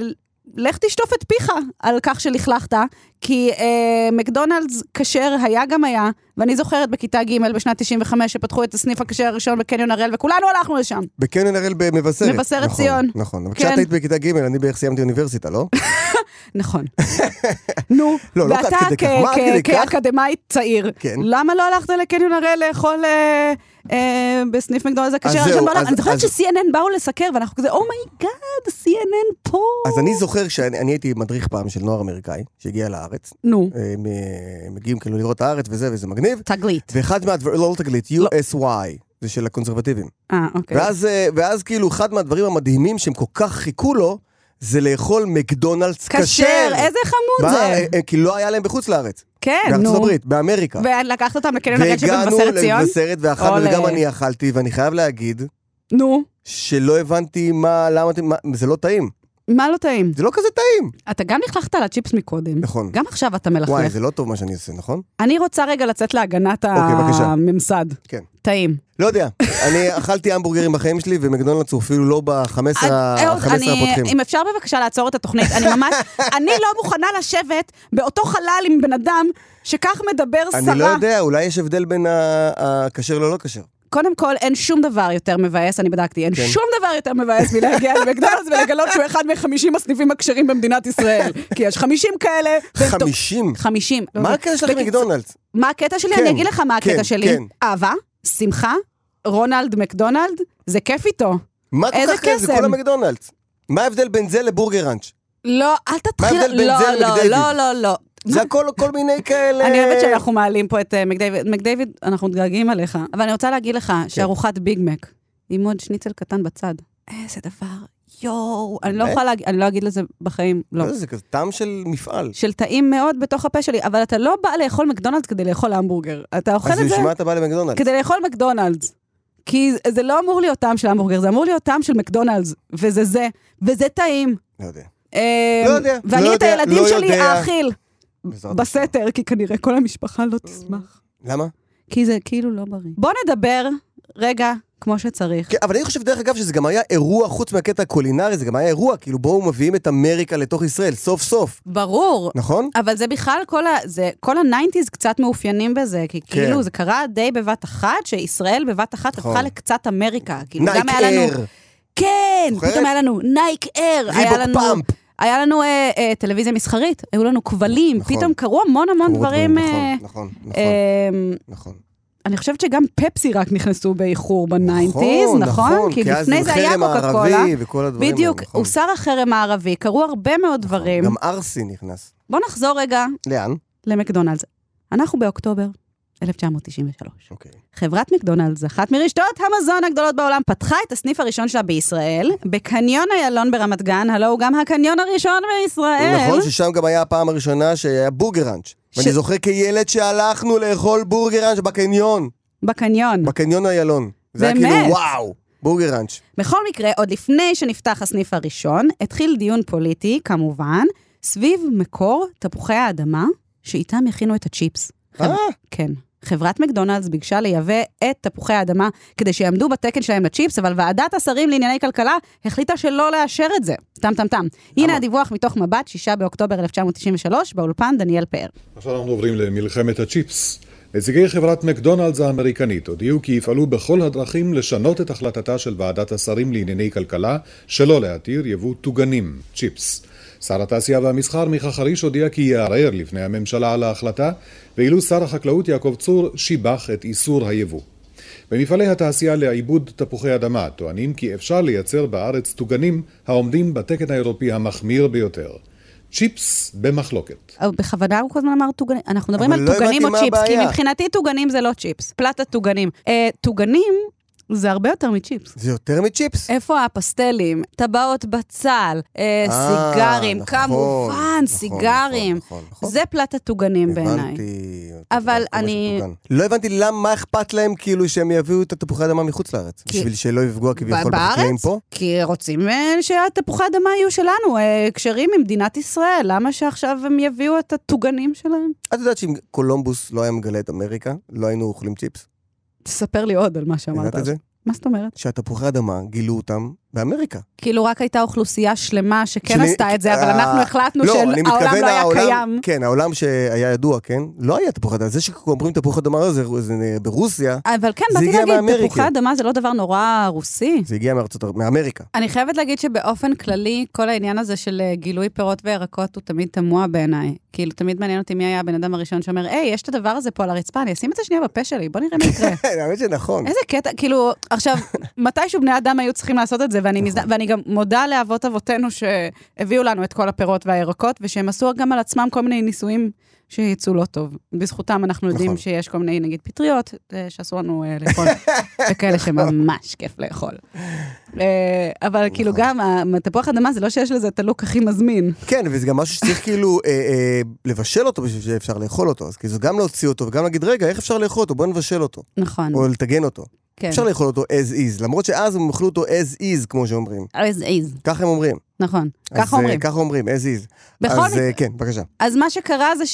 Speaker 3: לך תשטוף את פיך על כך שלכלכת, כי אה, מקדונלדס כשר היה גם היה, ואני זוכרת בכיתה ג' בשנת 95 שפתחו את הסניף הכשר הראשון בקניון הראל, וכולנו הלכנו לשם.
Speaker 4: בקניון הראל במבשרת.
Speaker 3: מבשרת
Speaker 4: נכון,
Speaker 3: ציון.
Speaker 4: נכון, אבל
Speaker 3: כן.
Speaker 4: כשאת היית בכיתה ג', אני בערך סיימתי אוניברסיטה, לא?
Speaker 3: נכון. נו,
Speaker 4: לא, לא עד
Speaker 3: ואתה
Speaker 4: כדי
Speaker 3: כ-
Speaker 4: כך. מה עד
Speaker 3: כ-
Speaker 4: כדי כך?
Speaker 3: כאקדמאי צעיר,
Speaker 4: כן.
Speaker 3: למה לא הלכת לקניון הראל לאכול אה, אה, בסניף מקדונלדס הכשר
Speaker 4: זהו,
Speaker 3: הראשון בעולם?
Speaker 4: אז-
Speaker 3: אני זוכרת
Speaker 4: אז-
Speaker 3: ש-CNN באו לסקר, ואנחנו כזה, "Oh אומייגאד, CNN פה.
Speaker 4: אז אני זוכר שאני אני הייתי מדריך פעם של נוער אמריקאי, שהגיע לארץ.
Speaker 3: נו,
Speaker 4: אה, מ- מגיעים כאילו לראות את הארץ וזה, וזה מגניב.
Speaker 3: תגלית.
Speaker 4: ואחד מהדברים, לא תגלית,
Speaker 3: לא.
Speaker 4: USY, זה של הקונסרבטיבים.
Speaker 3: אה, אוקיי.
Speaker 4: ואז, אה, ואז כאילו אחד מהדברים המדהימים שהם כל כך חיכו לו, זה לאכול מקדונלדס כשר.
Speaker 3: כשר, איזה חמוד
Speaker 4: מה,
Speaker 3: זה.
Speaker 4: אה, אה, כי לא היה להם בחוץ לארץ.
Speaker 3: כן, נו. כן,
Speaker 4: בארצות הברית, באמריקה.
Speaker 3: ולקחת אותם לקניון הראל
Speaker 4: והגענו
Speaker 3: שבמבשרת ציון?
Speaker 4: למבשרת ואכלנו,
Speaker 3: אולי.
Speaker 4: וגם אני אכלתי, ואני חייב להגיד
Speaker 3: נו.
Speaker 4: שלא הבנתי מה, למה אתם, מה- זה לא טעים.
Speaker 3: מה לא טעים?
Speaker 4: זה לא כזה טעים.
Speaker 3: אתה גם לכלכת על הצ'יפס מקודם.
Speaker 4: נכון.
Speaker 3: גם עכשיו אתה מלכלך.
Speaker 4: וואי, זה לא טוב מה שאני עושה, נכון?
Speaker 3: אני רוצה רגע לצאת להגנת
Speaker 4: אוקיי, בבקשה.
Speaker 3: הממסד.
Speaker 4: כן.
Speaker 3: טעים.
Speaker 4: לא יודע, אני אכלתי המבורגרים בחיים שלי, ומקדונלדס הוא אפילו לא ב-15
Speaker 3: אהוד, אה, אני-
Speaker 4: הפותחים.
Speaker 3: אם אפשר בבקשה לעצור את התוכנית, אני ממש, אני לא מוכנה לשבת באותו חלל עם בן אדם שכך מדבר שרה.
Speaker 4: אני לא יודע, אולי יש הבדל בין ה- הכשר ללא כשר.
Speaker 3: קודם כל, אין שום דבר יותר מבאס, אני בדקתי, אין
Speaker 4: כן.
Speaker 3: שום דבר יותר מבאס מלהגיע למקדונלדס ולגלות שהוא אחד מ-50 הסניפים הכשרים במדינת ישראל. כי יש 50 כאלה. והם כן, טוב-
Speaker 4: 50?
Speaker 3: 50. לא
Speaker 4: מה
Speaker 3: יודעת.
Speaker 4: הקטע שלך עם
Speaker 3: בקיצור,
Speaker 4: מקדונלדס?
Speaker 3: מה הקטע שלי?
Speaker 4: כן,
Speaker 3: אני אגיד לך מה
Speaker 4: כן,
Speaker 3: הקטע שלי.
Speaker 4: כן.
Speaker 3: אהבה, שמחה, רונלד מקדונלד, זה כיף איתו.
Speaker 4: מה כל
Speaker 3: איזה
Speaker 4: כך כיף? זה
Speaker 3: קסם.
Speaker 4: כל המקדונלדס. מה ההבדל בין זה לבורגר ראנץ'?
Speaker 3: לא, אל תתחיל...
Speaker 4: ההבדל בין
Speaker 3: לא,
Speaker 4: זה
Speaker 3: לא,
Speaker 4: למקדיוויד?
Speaker 3: לא, לא, לא.
Speaker 4: זה הכל כל מיני כאלה...
Speaker 3: אני אוהבת שאנחנו מעלים פה את אה, מקדיוויד. מקדיוויד, אנחנו מתגעגעים עליך. אבל אני רוצה להגיד לך
Speaker 4: כן.
Speaker 3: שארוחת ביג מק, עם עוד שניצל קטן בצד. איזה דבר. יואו, אני לא
Speaker 4: באמת?
Speaker 3: יכולה להגיד, אני לא אגיד לזה בחיים, לא.
Speaker 4: לא, זה כזה טעם של מפעל.
Speaker 3: של טעים מאוד בתוך הפה שלי, אבל אתה לא בא לאכול מקדונלדס כדי לאכול המבורגר. אתה אוכל את
Speaker 4: אז
Speaker 3: זה כן.
Speaker 4: בשביל מה אתה בא למקדונלדס?
Speaker 3: כדי לאכול מקדונלדס. כי זה לא אמור להיות טעם של המבורגר, זה אמור להיות טעם של מקדונלדס, וזה זה, וזה טעים.
Speaker 4: לא יודע.
Speaker 3: אמ,
Speaker 4: לא יודע,
Speaker 3: ואני
Speaker 4: לא
Speaker 3: את
Speaker 4: יודע,
Speaker 3: הילדים
Speaker 4: לא
Speaker 3: שלי
Speaker 4: יודע.
Speaker 3: האכיל.
Speaker 4: בעזרת
Speaker 3: בסתר, כי כנראה כל המשפחה לא תשמח.
Speaker 4: למה?
Speaker 3: כי זה כאילו לא בריא. בוא נדבר רגע כמו שצריך.
Speaker 4: כן, אבל אני חושב, דרך אגב, שזה גם היה אירוע, חוץ מהקטע הקולינרי, זה גם היה אירוע, כאילו בואו מביאים את אמריקה לתוך ישראל, סוף סוף,
Speaker 3: ברור.
Speaker 4: נכון?
Speaker 3: אבל זה בכלל, כל, ה... זה... כל הניינטיז קצת מאופיינים בזה, כי
Speaker 4: כן.
Speaker 3: כאילו זה קרה די בבת אחת, שישראל בבת אחת
Speaker 4: נכון.
Speaker 3: הפכה לקצת אמריקה. כאילו
Speaker 4: נייק
Speaker 3: גם היה לנו...
Speaker 4: אייר.
Speaker 3: כן,
Speaker 4: זוכרת?
Speaker 3: פתאום היה לנו נייק אייר,
Speaker 4: ריבוק
Speaker 3: היה לנו...
Speaker 4: פאמפ.
Speaker 3: היה לנו אה, אה, טלוויזיה מסחרית, היו לנו כבלים,
Speaker 4: נכון.
Speaker 3: פתאום קרו המון המון
Speaker 4: קרו
Speaker 3: דברים.
Speaker 4: דברים,
Speaker 3: אה,
Speaker 4: נכון, נכון,
Speaker 3: אה,
Speaker 4: נכון.
Speaker 3: אני חושבת שגם פפסי רק נכנסו באיחור בניינטיז,
Speaker 4: נכון,
Speaker 3: נכון?
Speaker 4: נכון,
Speaker 3: כי
Speaker 4: כי אז
Speaker 3: לפני
Speaker 4: עם
Speaker 3: זה היה
Speaker 4: חרם
Speaker 3: קוקה
Speaker 4: הערבי
Speaker 3: קולה.
Speaker 4: וכל הדברים האלה,
Speaker 3: בדיוק,
Speaker 4: נכון.
Speaker 3: הוסר החרם הערבי, קרו הרבה מאוד דברים.
Speaker 4: גם ארסי נכנס.
Speaker 3: בואו נחזור רגע
Speaker 4: לאן?
Speaker 3: למקדונלדס. אנחנו באוקטובר 1993.
Speaker 4: אוקיי.
Speaker 3: חברת מקדונלדס, אחת מרשתות המזון הגדולות בעולם, פתחה את הסניף הראשון שלה בישראל, בקניון איילון ברמת גן, הלו הוא גם הקניון הראשון בישראל.
Speaker 4: נכון ששם גם היה הפעם הראשונה שהיה בורגר ראנץ'. ואני זוכר כילד שהלכנו לאכול בורגר ראנץ' בקניון.
Speaker 3: בקניון.
Speaker 4: בקניון איילון. זה היה
Speaker 3: באמת?
Speaker 4: כאילו וואו, בורגר ראנץ'.
Speaker 3: בכל מקרה, עוד לפני שנפתח הסניף הראשון, התחיל דיון פוליטי, כמובן, סביב מקור תפוחי האדמה, שאיתם יכינו את הצ'יפס.
Speaker 4: אה?
Speaker 3: כן. חברת מקדונלדס ביקשה לייבא את תפוחי האדמה כדי שיעמדו בתקן שלהם לצ'יפס, אבל ועדת השרים לענייני כלכלה החליטה שלא לאשר את זה. טם טם טם. הנה הדיווח מתוך מבט, 6 באוקטובר 1993, באולפן דניאל פאר.
Speaker 13: עכשיו אנחנו עוברים למלחמת הצ'יפס. נציגי חברת מקדונלדס האמריקנית הודיעו כי יפעלו בכל הדרכים לשנות את החלטתה של ועדת השרים לענייני כלכלה שלא להתיר יבוא טוגנים, צ'יפס. שר התעשייה והמסחר מיכה חריש הודיע כי יערער לפני הממשלה על ההחלטה, ואילו שר החקלאות יעקב צור שיבח את איסור היבוא. במפעלי התעשייה לעיבוד תפוחי אדמה טוענים כי אפשר לייצר בארץ טוגנים העומדים בתקן האירופי המחמיר ביותר. צ'יפס במחלוקת.
Speaker 3: אבל אה, בכוונה הוא כל הזמן אמר טוגנים, אנחנו מדברים
Speaker 13: אבל
Speaker 3: על
Speaker 13: לא
Speaker 3: טוגנים
Speaker 13: הבנתי
Speaker 3: או
Speaker 13: מה
Speaker 3: צ'יפס, כי
Speaker 13: הבעיה.
Speaker 3: מבחינתי טוגנים זה לא צ'יפס, פלטת טוגנים. אה, טוגנים זה הרבה יותר מצ'יפס.
Speaker 4: זה יותר מצ'יפס?
Speaker 3: איפה הפסטלים, טבעות בצל, אה,
Speaker 4: אה,
Speaker 3: סיגרים,
Speaker 4: נכון,
Speaker 3: כמובן,
Speaker 4: נכון,
Speaker 3: סיגרים. זה פלטת טוגנים בעיניי. אבל אני...
Speaker 4: לא הבנתי למה, מה אכפת להם כאילו שהם יביאו את התפוחי האדמה מחוץ לארץ? בשביל שלא לפגוע כביכול בחקלאים
Speaker 3: בארץ?
Speaker 4: פה?
Speaker 3: כי רוצים אה, שהתפוחי אדמה יהיו שלנו, אה, כשרים ממדינת ישראל, למה שעכשיו הם יביאו את הטוגנים שלהם?
Speaker 4: את יודעת שאם קולומבוס לא היה מגלה את אמריקה, לא היינו אוכלים צ'יפס?
Speaker 3: תספר לי עוד על מה שאמרת.
Speaker 4: ידעת את זה?
Speaker 3: מה זאת אומרת?
Speaker 4: שהתפוחי אדמה, גילו אותם באמריקה.
Speaker 3: כאילו רק הייתה אוכלוסייה שלמה שכן
Speaker 4: שאני-
Speaker 3: עשתה את זה, אבל
Speaker 4: אה,
Speaker 3: אנחנו החלטנו
Speaker 4: לא, אני
Speaker 3: שהעולם
Speaker 4: מתכוון,
Speaker 3: לא היה
Speaker 4: העולם-
Speaker 3: קיים.
Speaker 4: כן, העולם שהיה ידוע, כן? לא היה תפוחי אדמה. זה שאומרים תפוחי אדמה זה זה ברוסיה,
Speaker 3: אבל כן,
Speaker 4: זה
Speaker 3: באתי
Speaker 4: הגיע
Speaker 3: להגיד,
Speaker 4: מאמריקה.
Speaker 3: תפוחי אדמה זה לא דבר נורא רוסי.
Speaker 4: זה הגיע מארצות הברית, מאמריקה.
Speaker 3: אני חייבת להגיד שבאופן כללי, כל העניין הזה של אה, גילוי פירות וירקות הוא תמיד תמוה בעיניי. כאילו, תמיד מעניין אותי מי היה הבן אדם הראשון שאומר, היי, יש את הדבר הזה פה על הרצפה, אני אשים את זה שנייה בפה שלי, בוא נראה מה יקרה.
Speaker 4: כן, האמת שנכון.
Speaker 3: איזה קטע, כאילו, עכשיו, מתישהו בני אדם היו צריכים לעשות את זה, ואני, מזד...
Speaker 4: נכון.
Speaker 3: ואני גם מודה לאבות אבותינו שהביאו לנו את כל הפירות והירקות, ושהם עשו גם על עצמם כל מיני ניסויים שיצאו לא טוב. בזכותם אנחנו יודעים
Speaker 14: נכון.
Speaker 3: שיש כל מיני, נגיד, פטריות, אה, שאסור לנו אה, לאכול, וכאלה שממש כיף לאכול. אה, אבל
Speaker 4: נכון.
Speaker 3: כאילו גם, ה- תפוח אדמה זה לא שיש לזה את הלוק הכי מזמין.
Speaker 4: כן, וזה גם משהו שצריך כאילו אה, אה, לבשל אותו בשביל שאפשר לאכול אותו. אז כאילו גם להוציא אותו וגם להגיד, רגע, איך אפשר לאכול אותו? בוא נבשל אותו.
Speaker 3: נכון.
Speaker 4: או לטגן אותו.
Speaker 3: כן.
Speaker 4: אפשר לאכול אותו as is, למרות שאז הם אכלו אותו as is, כמו שאומרים.
Speaker 3: as is,
Speaker 4: ככה הם אומרים.
Speaker 3: אה, נכון.
Speaker 4: אז,
Speaker 3: ככה
Speaker 4: אה,
Speaker 3: אומרים.
Speaker 4: ככה אומרים, as is.
Speaker 3: בכל
Speaker 4: אז
Speaker 3: מקרה-
Speaker 4: אה, כן, בבקשה.
Speaker 3: אז מה שקרה זה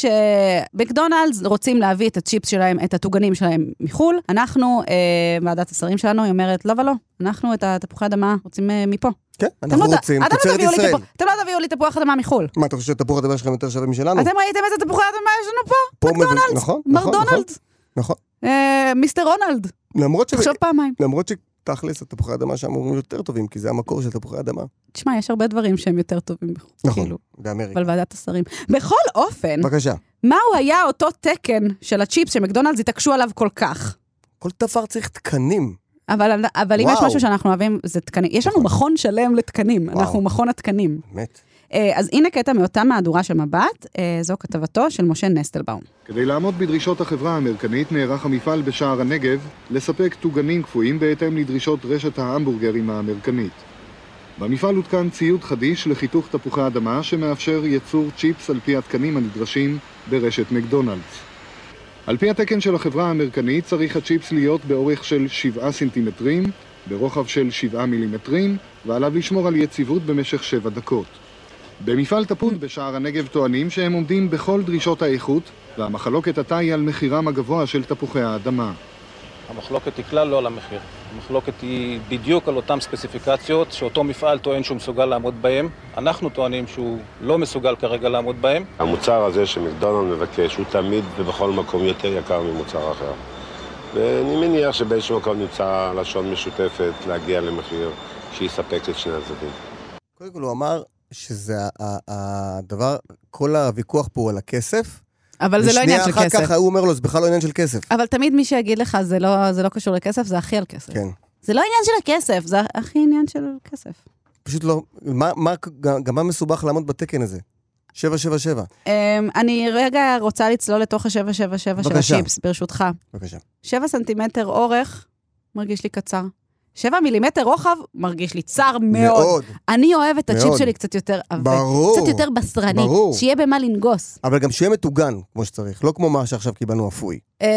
Speaker 3: שמקדונלדס רוצים להביא את הצ'יפס שלהם, את הטוגנים שלהם מחו"ל. אנחנו, אה, ועדת השרים שלנו, היא אומרת, לא ולא, אנחנו את התפוחי אדמה רוצים אה, מפה.
Speaker 4: כן,
Speaker 3: אתם לא
Speaker 4: אנחנו
Speaker 3: ת-
Speaker 4: רוצים
Speaker 3: אתם לא
Speaker 4: תוצרת
Speaker 3: תביאו לי
Speaker 4: ישראל.
Speaker 3: תפוח- אתם לא תביאו לי תפוח אדמה מחו"ל.
Speaker 4: מה, אתה חושב שתפוח הדבר שלכם יותר שווה משלנו?
Speaker 3: אתם ראיתם איזה תפוחי אדמה יש לנו פה?
Speaker 4: פה מב-
Speaker 3: מקדונלדס,
Speaker 4: לא. נכון,
Speaker 3: מר
Speaker 4: נכון, נכון.
Speaker 3: דונלדס,
Speaker 4: נכון.
Speaker 3: אה, מיסטר רונלד.
Speaker 4: למרות ש...
Speaker 3: תחשוב פעמיים.
Speaker 4: למרות שתכלס, התפוחי אדמה שם אמורים יותר טובים, כי זה המקור של תפוחי אדמה.
Speaker 3: תשמע, יש הרבה דברים שהם יותר טובים,
Speaker 4: נכון,
Speaker 3: כאילו,
Speaker 4: באמריקה. Mm-hmm.
Speaker 3: אבל ועדת השרים. בכל אופן,
Speaker 4: בבקשה.
Speaker 3: מהו היה אותו תקן של הצ'יפס שמקדונלדס התעקשו עליו כל כך?
Speaker 4: כל דבר צריך תקנים.
Speaker 3: אבל, אבל אם יש
Speaker 4: וואו. נכון.
Speaker 3: משהו שאנחנו אוהבים, זה תקנים. יש לנו מכון שלם לתקנים, וואו. אנחנו מכון התקנים.
Speaker 4: באמת.
Speaker 3: אה, אז הנה קטע מאותה מהדורה של מבט, אה, זו כתבתו של משה נסטלבאום.
Speaker 9: כדי לעמוד בדרישות החברה המרקנית נערך המפעל בשער הנגב לספק טוגנים קפואים בהתאם לדרישות רשת ההמבורגרים האמריקנית. במפעל הותקן ציוד חדיש לחיתוך תפוחי אדמה שמאפשר ייצור צ'יפס על פי התקנים הנדרשים ברשת מקדונלדס. על פי התקן של החברה האמריקנית צריך הצ'יפס להיות באורך של 7 סנטימטרים, ברוחב של 7 מילימטרים, ועליו לשמור על יציבות במשך 7 דקות. במפעל תפוד בשער הנגב טוענים שהם עומדים בכל דרישות האיכות, והמחלוקת עתה היא על מחירם הגבוה של תפוחי האדמה.
Speaker 15: המחלוקת היא כלל לא על המחיר. המחלוקת היא בדיוק על אותן ספציפיקציות שאותו מפעל טוען שהוא מסוגל לעמוד בהן. אנחנו טוענים שהוא לא מסוגל כרגע לעמוד בהן.
Speaker 16: המוצר הזה שמקדונלד מבקש הוא תמיד ובכל מקום יותר יקר ממוצר אחר. ואני מניח שבאיזשהו מקום נמצא לשון משותפת להגיע למחיר שיספק את שני הצדדים.
Speaker 4: קודם כל הוא אמר שזה ה- ה- הדבר, כל הוויכוח פה הוא על הכסף.
Speaker 3: אבל זה לא עניין של
Speaker 4: ושנייה אחר
Speaker 3: כסף.
Speaker 4: כך הוא אומר לו, זה בכלל לא עניין של כסף.
Speaker 3: אבל תמיד מי שיגיד לך, זה לא, זה לא קשור לכסף, זה הכי על כסף.
Speaker 4: כן.
Speaker 3: זה לא עניין של הכסף, זה הכי עניין של כסף.
Speaker 4: פשוט לא, מה, מה, גם- גם מה מסובך לעמוד בתקן הזה? 777.
Speaker 3: אמ, אני רגע רוצה לצלול לתוך ה-777 של
Speaker 4: בבקשה.
Speaker 3: הצ'יפס, ברשותך.
Speaker 4: בבקשה.
Speaker 3: 7 סנטימטר אורך, מרגיש לי קצר. 7 מילימטר רוחב, מרגיש לי צר מאוד.
Speaker 4: מאוד.
Speaker 3: אני אוהבת את
Speaker 4: מאוד.
Speaker 3: הצ'יפ שלי קצת יותר עבה.
Speaker 4: ברור.
Speaker 3: קצת יותר בשרני.
Speaker 4: ברור.
Speaker 3: שיהיה במה לנגוס.
Speaker 4: אבל גם שיהיה מטוגן כמו שצריך, לא כמו מה שעכשיו קיבלנו אפוי.
Speaker 3: אה,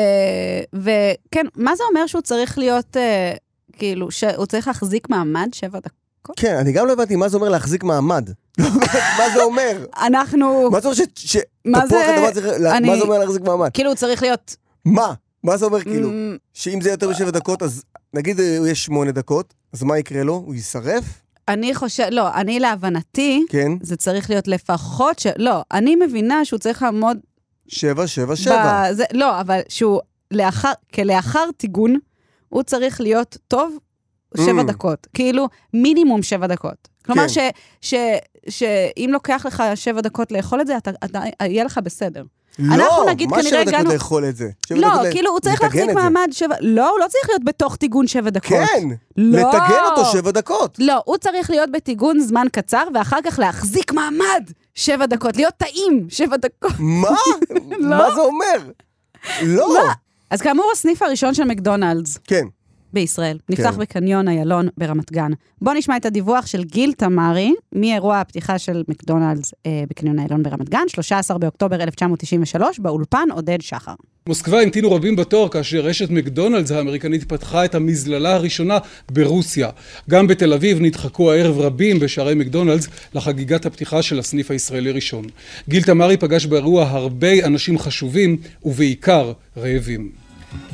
Speaker 3: וכן, מה זה אומר שהוא צריך להיות, אה, כאילו, שהוא צריך להחזיק מעמד שבע דקות?
Speaker 4: כן, אני גם לא הבנתי מה זה אומר להחזיק מעמד.
Speaker 3: לא.
Speaker 4: מה זה אומר?
Speaker 3: אנחנו...
Speaker 4: מה זה אומר ש- ש-
Speaker 3: מה
Speaker 4: תפוח
Speaker 3: זה-
Speaker 4: אדמה צריך... לה-
Speaker 3: אני-
Speaker 4: מה זה אומר להחזיק מעמד?
Speaker 3: כאילו, הוא צריך להיות...
Speaker 4: מה? מה זה אומר כאילו?
Speaker 3: מ-
Speaker 4: שאם זה יותר משבע דקות, אז נגיד אה, הוא יש שמונה דקות, אז מה יקרה לו? הוא יישרף?
Speaker 3: אני חושבת, לא, אני להבנתי,
Speaker 4: כן.
Speaker 3: זה צריך להיות לפחות ש... לא, אני מבינה שהוא צריך לעמוד
Speaker 4: שבע, שבע, שבע.
Speaker 3: בזה, לא, אבל שהוא לאחר, כלאחר טיגון, הוא צריך להיות טוב שבע
Speaker 4: Mm.
Speaker 3: דקות. כאילו, מינימום שבע דקות. כלומר,
Speaker 4: כן.
Speaker 3: ש, ש, שאם לוקח לך שבע דקות לאכול את זה, אתה, אתה, יהיה לך בסדר. אנחנו
Speaker 4: לא,
Speaker 3: נגיד
Speaker 4: מה
Speaker 3: כנראה
Speaker 4: שבע דקות
Speaker 3: הגענו...
Speaker 4: לאכול את זה? שבע
Speaker 3: לא,
Speaker 4: דקות ל-
Speaker 3: כאילו, הוא צריך
Speaker 4: לטגן
Speaker 3: להחזיק
Speaker 4: את זה.
Speaker 3: מעמד שבע... לא, הוא לא צריך להיות בתוך טיגון שבע דקות.
Speaker 4: כן,
Speaker 3: לא.
Speaker 4: לטגן אותו שבע דקות.
Speaker 3: לא, הוא צריך להיות בטיגון זמן קצר, ואחר כך להחזיק מעמד שבע דקות, להיות טעים שבע דקות.
Speaker 4: מה? מה זה אומר? לא.
Speaker 3: אז כאמור, הסניף הראשון של מקדונלדס.
Speaker 4: כן.
Speaker 3: בישראל. נפתח
Speaker 17: כן.
Speaker 3: בקניון איילון ברמת גן. בואו נשמע את הדיווח של גיל תמרי מאירוע הפתיחה של מקדונלדס אה, בקניון איילון ברמת גן, 13 באוקטובר 1993, באולפן עודד שחר.
Speaker 18: מוסקבה המתינו רבים בתור כאשר רשת מקדונלדס האמריקנית פתחה את המזללה הראשונה ברוסיה. גם בתל אביב נדחקו הערב רבים בשערי מקדונלדס לחגיגת הפתיחה של הסניף הישראלי ראשון. גיל תמרי פגש באירוע הרבה אנשים חשובים ובעיקר רעבים.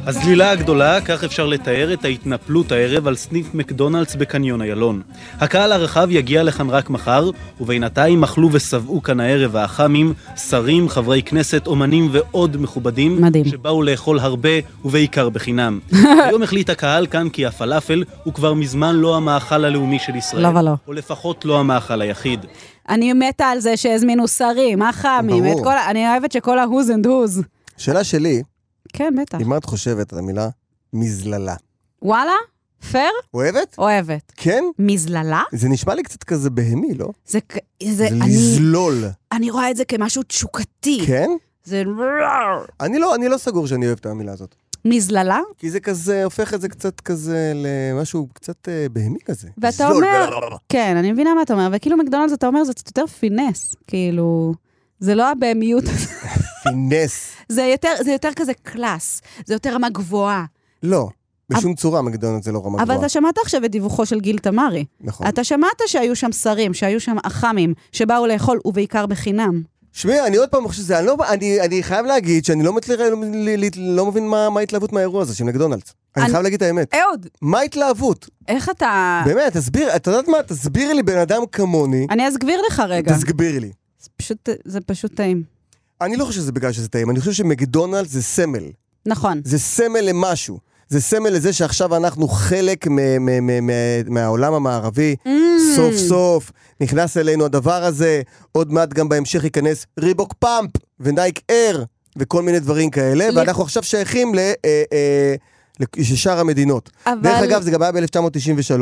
Speaker 11: הזלילה הגדולה, כך אפשר לתאר את ההתנפלות הערב על סניף מקדונלדס בקניון איילון. הקהל הרחב יגיע לכאן רק מחר, ובינתיים אכלו ושבעו כאן הערב האח"מים, שרים, חברי כנסת, אומנים ועוד מכובדים,
Speaker 3: מדהים.
Speaker 11: שבאו לאכול הרבה ובעיקר בחינם. היום החליט הקהל כאן כי הפלאפל הוא כבר מזמן לא המאכל הלאומי של ישראל.
Speaker 3: לא ולא.
Speaker 11: או לפחות לא המאכל היחיד.
Speaker 3: אני מתה על זה שהזמינו שרים, הח"מים,
Speaker 4: ברור.
Speaker 3: את כל ה... אני אוהבת שכל ה-who's and who's.
Speaker 4: שאלה שלי,
Speaker 3: כן, בטח.
Speaker 4: עם מה את חושבת על המילה מזללה?
Speaker 3: וואלה? פייר?
Speaker 4: אוהבת?
Speaker 3: אוהבת.
Speaker 4: כן?
Speaker 3: מזללה?
Speaker 4: זה נשמע לי קצת כזה בהמי, לא?
Speaker 3: זה... כ- זה...
Speaker 4: זה
Speaker 3: אני...
Speaker 4: לזלול.
Speaker 3: אני רואה את זה כמשהו תשוקתי.
Speaker 4: כן?
Speaker 3: זה...
Speaker 4: אני לא, אני לא סגור שאני אוהב את המילה הזאת.
Speaker 3: מזללה?
Speaker 4: כי זה כזה, הופך את זה קצת כזה למשהו קצת אה, בהמי כזה.
Speaker 3: ואתה
Speaker 4: זול.
Speaker 3: אומר, כן, אני מבינה מה אתה אומר, וכאילו מקדונלדס אתה אומר, זה קצת יותר פינס, כאילו, זה לא הבהמיות,
Speaker 4: פינס.
Speaker 3: זה יותר, זה יותר כזה קלאס, זה יותר רמה גבוהה.
Speaker 4: לא. בשום צורה מקדונלדס זה לא רמה
Speaker 3: אבל
Speaker 4: גבוהה.
Speaker 3: אתה שמעת עכשיו את דיווחו של גיל תמרי.
Speaker 4: נכון.
Speaker 3: אתה שמעת שהיו שם שרים, שהיו שם אח"מים, שבאו לאכול, ובעיקר בחינם.
Speaker 4: שמעי, אני עוד פעם חושב שזה, אני, לא, אני, אני חייב להגיד שאני לא, מצליח, לא, לא מבין מה, מה ההתלהבות מהאירוע הזה של מקדונלדס. אני,
Speaker 3: אני- אה.
Speaker 4: חייב להגיד את האמת.
Speaker 3: אהוד,
Speaker 4: מה ההתלהבות?
Speaker 3: איך אתה...
Speaker 4: באמת, תסביר, את יודעת מה? תסבירי לי בן אדם כמוני,
Speaker 3: אני אסגביר לך רגע.
Speaker 4: תסבירי לי.
Speaker 3: פשוט, זה פשוט טעים.
Speaker 4: אני לא חושב שזה בגלל שזה טעים, אני חושב שמקדונלדס זה סמל.
Speaker 3: נכון.
Speaker 4: זה סמל למשהו. זה סמל לזה שעכשיו אנחנו חלק מ- מ- מ- מ- מהעולם המערבי. סוף
Speaker 3: Mm.
Speaker 4: סוף נכנס אלינו הדבר הזה, עוד מעט גם בהמשך ייכנס ריבוק פאמפ ונייק אייר וכל מיני דברים כאלה, ואנחנו עכשיו שייכים ל- אה, אה, לשאר המדינות.
Speaker 3: אבל-
Speaker 4: דרך אגב, זה גם היה ב-1993.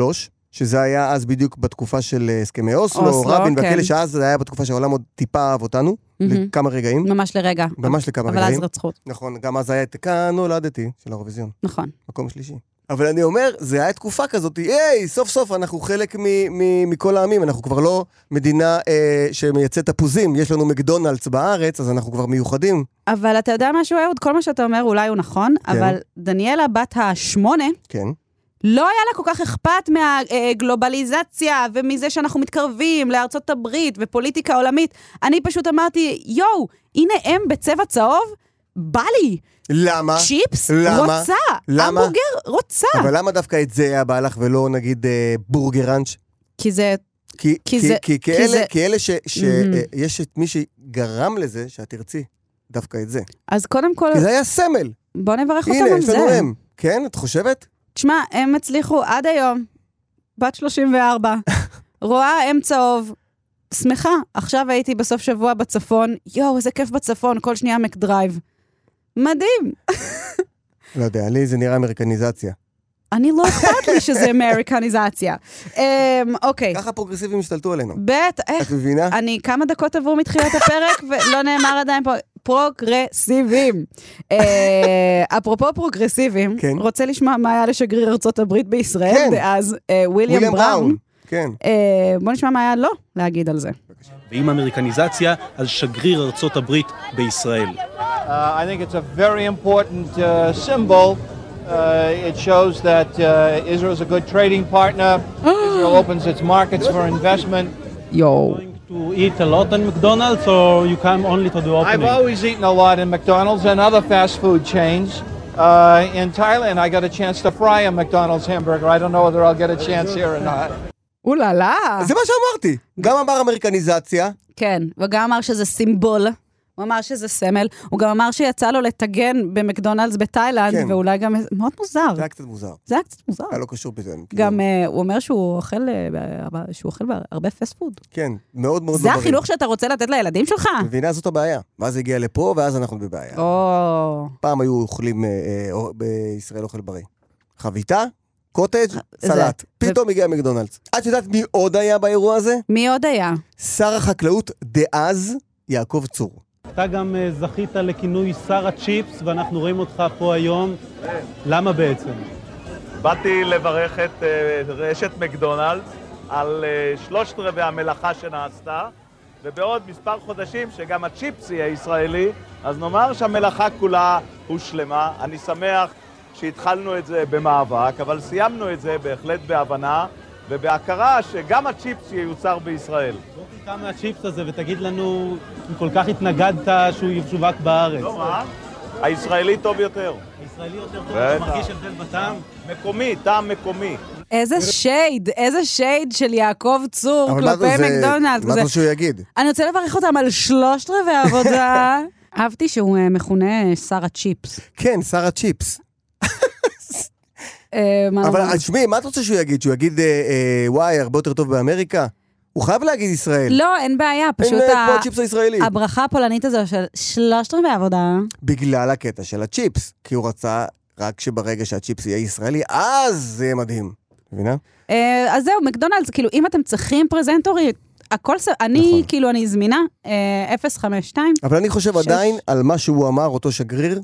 Speaker 4: שזה היה אז בדיוק בתקופה של אה, הסכמי אוסלו,
Speaker 3: אוסלו,
Speaker 4: רבין
Speaker 3: כן.
Speaker 4: והכאלה, שאז זה היה בתקופה שהעולם עוד טיפה אהב אותנו,
Speaker 3: מהמם.
Speaker 4: לכמה רגעים.
Speaker 3: ממש לרגע.
Speaker 4: ממש לכמה
Speaker 3: אבל
Speaker 4: רגעים.
Speaker 3: אז רצחו. אותו.
Speaker 4: נכון, גם אז היה את כאן נולדתי, של האירוויזיון.
Speaker 3: נכון.
Speaker 4: מקום שלישי. אבל אני אומר, זה היה תקופה כזאת, היי, סוף סוף אנחנו חלק מ- מ- מכל העמים, אנחנו כבר לא מדינה אה, שמייצאת תפוזים, יש לנו מקדונלדס בארץ, אז אנחנו כבר מיוחדים.
Speaker 3: אבל אתה יודע משהו, אהוד? כל מה שאתה אומר אולי הוא נכון,
Speaker 4: כן.
Speaker 3: אבל דניאלה בת השמונה,
Speaker 4: כן.
Speaker 3: לא היה לה כל כך אכפת מהגלובליזציה ומזה שאנחנו מתקרבים לארצות הברית ופוליטיקה עולמית. אני פשוט אמרתי, יואו, הנה הם בצבע צהוב, בא לי.
Speaker 4: למה?
Speaker 3: צ'יפס?
Speaker 4: למה?
Speaker 3: רוצה.
Speaker 4: למה?
Speaker 3: המבורגר? רוצה.
Speaker 4: אבל למה דווקא את זה היה בא לך ולא נגיד אה, בורגראנץ'?
Speaker 3: כי זה...
Speaker 4: כי,
Speaker 3: כי
Speaker 4: כי,
Speaker 3: זה-
Speaker 4: כי,
Speaker 3: כי
Speaker 4: כי, אלה,
Speaker 3: זה-
Speaker 4: כי אלה ש... ש
Speaker 3: Mhm.
Speaker 4: אה, יש את מי שגרם לזה שאת תרצי דווקא את זה.
Speaker 3: אז קודם כל...
Speaker 4: כי זה היה סמל.
Speaker 3: בוא נברך אותם
Speaker 4: הנה,
Speaker 3: על
Speaker 4: יש
Speaker 3: זה.
Speaker 4: לנו הם. כן, את חושבת?
Speaker 3: תשמע, הם הצליחו עד היום, בת 34, רואה אם צהוב, שמחה. עכשיו הייתי בסוף שבוע בצפון, יואו, איזה כיף בצפון, כל שנייה מקדרייב. מדהים.
Speaker 4: לא יודע, לי זה נראה אמריקניזציה.
Speaker 3: אני לא אכפת לי שזה אמריקניזציה. אמ, אוקיי.
Speaker 4: ככה פרוגרסיבים השתלטו עלינו.
Speaker 3: בטח, איך?
Speaker 4: את מבינה?
Speaker 3: אני כמה דקות עברו מתחילת הפרק ולא נאמר עדיין פה, פרוגרסיבים. אה, אפרופו פרוגרסיבים, רוצה לשמוע מה היה לשגריר ארצות הברית בישראל
Speaker 4: כן.
Speaker 3: דאז, אה, וויליאם
Speaker 19: וויליאם
Speaker 3: בראון.
Speaker 19: בראון.
Speaker 4: כן.
Speaker 3: אה, בוא נשמע מה היה לו להגיד על זה.
Speaker 19: ועם אמריקניזציה, אז שגריר ארצות הברית בישראל.
Speaker 20: Uh, I think it's a very important uh, symbol. Uh, it shows that uh, Israel is a good trading partner. Israel opens its markets for investment.
Speaker 3: יואו.
Speaker 20: To eat a lot in McDonald's, or you come only to the opening? I've always eaten a lot in McDonald's and other fast food chains. Uh, in Thailand, I got a chance to fry a McDonald's hamburger. I don't know whether I'll get a chance here or not.
Speaker 3: אוללה.
Speaker 4: זה מה שאמרתי. גם
Speaker 3: אה.
Speaker 4: אמר אמריקניזציה.
Speaker 3: כן, הוא גם אמר שזה סימבול. הוא אמר שזה סמל, הוא גם אמר שיצא לו לטגן במקדונלדס בתאילנד,
Speaker 4: כן.
Speaker 3: ואולי גם... מאוד מוזר.
Speaker 4: זה היה קצת מוזר.
Speaker 3: זה היה קצת מוזר.
Speaker 4: היה לא קשור בזה.
Speaker 3: אה. גם אה, הוא אומר שהוא אוכל אה, ב- שהוא אוכל בה- הרבה פסט פוד.
Speaker 4: כן, מאוד מאוד לא
Speaker 3: זה
Speaker 4: בריא.
Speaker 3: החינוך שאתה רוצה לתת לילדים שלך?
Speaker 4: מבינה? זאת הבעיה. ואז זה הגיע לפה, ואז אנחנו בבעיה.
Speaker 3: אה. או...
Speaker 4: פעם היו אוכלים, אה, אה, או- בישראל אוכל בריא. חביתה, קוטג',
Speaker 3: אה, זה-
Speaker 4: סלט. פתאום הגיע מקדונלדס. את יודעת מי עוד היה באירוע הזה?
Speaker 3: מי עוד היה?
Speaker 4: שר החקלאות דאז, יעקב צור.
Speaker 21: אתה גם אה, זכית לכינוי שר הצ'יפס, ואנחנו רואים אותך פה היום. למה בעצם?
Speaker 22: באתי לברך את אה, רשת מקדונלדס על אה, שלושת רבעי המלאכה שנעשתה, ובעוד מספר חודשים, שגם הצ'יפס יהיה ישראלי, אז נאמר שהמלאכה כולה הושלמה. אני שמח שהתחלנו את זה במאבק, אבל סיימנו את זה בהחלט בהבנה ובהכרה שגם הצ'יפס ייוצר בישראל.
Speaker 21: תיקח מהצ'יפס הזה ותגיד לנו אם כל כך התנגדת שהוא ישווק בארץ.
Speaker 22: לא מה? הישראלי טוב יותר.
Speaker 21: ישראלי יותר
Speaker 22: טוב, אתה בטח. מרגיש
Speaker 21: הבדל בטעם?
Speaker 22: מקומי, טעם מקומי.
Speaker 3: איזה שייד, איזה שייד של יעקב צור
Speaker 4: אבל מה
Speaker 3: כלפי
Speaker 4: זה-
Speaker 3: מקדונלדס.
Speaker 4: מה
Speaker 3: זה-
Speaker 4: זה שהוא יגיד?
Speaker 3: אני רוצה לברך אותם על שלושת רבעי עבודה. אהבתי שהוא אה, מכונה אה, שר הצ'יפס.
Speaker 4: כן, שר הצ'יפס.
Speaker 3: אה, מה
Speaker 4: אבל
Speaker 3: לומר?
Speaker 4: אז שמעי, מה את רוצה שהוא יגיד? שהוא יגיד, אה, אה, וואי, הרבה יותר טוב באמריקה? הוא חייב להגיד ישראל.
Speaker 3: לא, אין בעיה, פשוט
Speaker 4: אה,
Speaker 3: ה-
Speaker 4: פה הצ'יפס הישראלי.
Speaker 3: הברכה הפולנית הזו של שלושת רבעי עבודה.
Speaker 4: בגלל הקטע של הצ'יפס, כי הוא רצה רק שברגע שהצ'יפס יהיה ישראלי, אז זה יהיה מדהים. מבינה?
Speaker 3: אה, אז זהו, מקדונלדס, כאילו, אם אתם צריכים פרזנטורית, הכל ס... אני,
Speaker 4: נכון.
Speaker 3: כאילו, אני זמינה, אה, 052.
Speaker 4: אבל אני חושב
Speaker 3: שש.
Speaker 4: עדיין על מה שהוא אמר, אותו שגריר.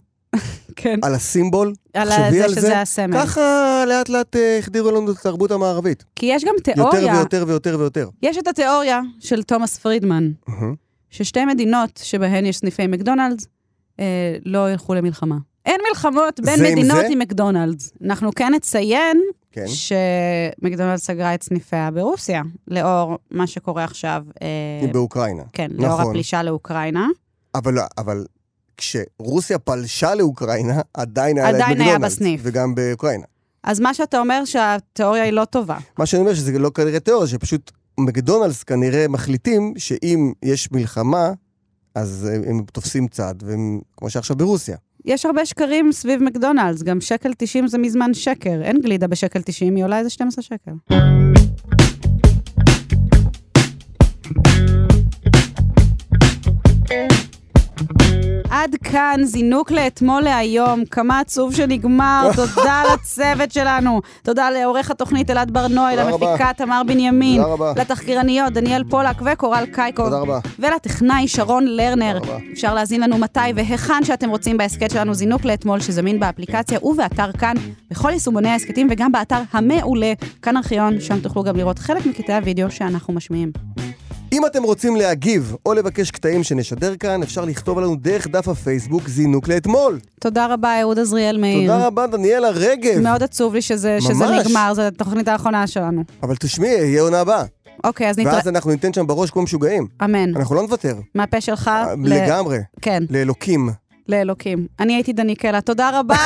Speaker 3: כן.
Speaker 4: על הסימבול.
Speaker 3: על ה-
Speaker 4: תחשבי
Speaker 3: זה
Speaker 4: על
Speaker 3: שזה הסמל.
Speaker 4: ככה לאט לאט אה, החדירו לנו את התרבות המערבית.
Speaker 3: כי יש גם תיאוריה.
Speaker 4: יותר ויותר ויותר ויותר.
Speaker 3: יש את התיאוריה של תומאס פרידמן,
Speaker 4: מהמם.
Speaker 3: ששתי מדינות שבהן יש סניפי מקדונלדס, אה, לא ילכו למלחמה. אין מלחמות בין
Speaker 4: זה עם
Speaker 3: מדינות
Speaker 4: זה?
Speaker 3: עם מקדונלדס. אנחנו כן נציין
Speaker 4: כן.
Speaker 3: שמקדונלדס סגרה את סניפיה ברוסיה, לאור מה שקורה עכשיו. אה,
Speaker 4: באוקראינה.
Speaker 3: כן, לאור
Speaker 4: נכון.
Speaker 3: הפלישה לאוקראינה.
Speaker 4: אבל, לא, אבל כשרוסיה פלשה לאוקראינה, עדיין היה להם
Speaker 3: עדיין היה
Speaker 4: מקדונלדס.
Speaker 3: בסניף.
Speaker 4: וגם באוקראינה.
Speaker 3: אז מה שאתה אומר שהתיאוריה היא לא טובה.
Speaker 4: מה שאני אומר שזה לא כנראה תיאוריה, שפשוט מקדונלדס כנראה מחליטים שאם יש מלחמה, אז הם- הם תופסים צד, והם, כמו שעכשיו ברוסיה.
Speaker 3: יש הרבה שקרים סביב מקדונלדס, גם שקל 90 זה מזמן שקר. אין גלידה בשקל 90, היא עולה איזה 12 שקל. עד כאן זינוק לאתמול להיום, כמה עצוב שנגמר, תודה לצוות שלנו, תודה לעורך התוכנית אלעד ברנוי,
Speaker 4: תודה רבה.
Speaker 3: למפיקה תמר בנימין,
Speaker 4: תודה רבה.
Speaker 3: לתחקירניות דניאל פולק וקורל קייקוב,
Speaker 4: תודה רבה.
Speaker 3: ולטכנאי שרון לרנר. אפשר להזין לנו מתי והיכן שאתם רוצים בהסכת שלנו זינוק לאתמול, שזמין באפליקציה ובאתר כאן, בכל יישומוני ההסכתים וגם באתר המעולה, כאן ארכיון, שם תוכלו גם לראות חלק מקטעי הוידאו שאנחנו משמיעים.
Speaker 4: אם אתם רוצים להגיב או לבקש קטעים שנשדר כאן, אפשר לכתוב עלינו דרך דף הפייסבוק זינוק לאתמול.
Speaker 3: תודה רבה, אהוד עזריאל מאיר.
Speaker 4: תודה רבה, דניאלה רגב.
Speaker 3: מאוד עצוב לי שזה, שזה
Speaker 4: ממש.
Speaker 3: נגמר, זו התוכנית האחרונה שלנו.
Speaker 4: אבל תשמעי, יהיה עונה הבאה.
Speaker 3: אוקיי, אז נתראה...
Speaker 4: ואז אנחנו ניתן שם בראש כמו משוגעים.
Speaker 3: אמן.
Speaker 4: אנחנו לא נוותר.
Speaker 3: מהפה שלך... ל-
Speaker 4: לגמרי.
Speaker 3: כן,
Speaker 4: לאלוקים.
Speaker 3: לאלוקים. אני הייתי דניקלה, תודה רבה.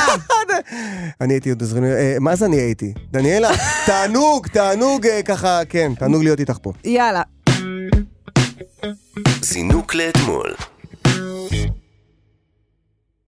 Speaker 4: אני הייתי עוד עזרנו, אה, מה זה אני הייתי? דניאלה, תענוג, תענוג אה, ככה, כן, תענוג להיות איתך פה.
Speaker 3: יאללה.
Speaker 2: זינוק לאתמול.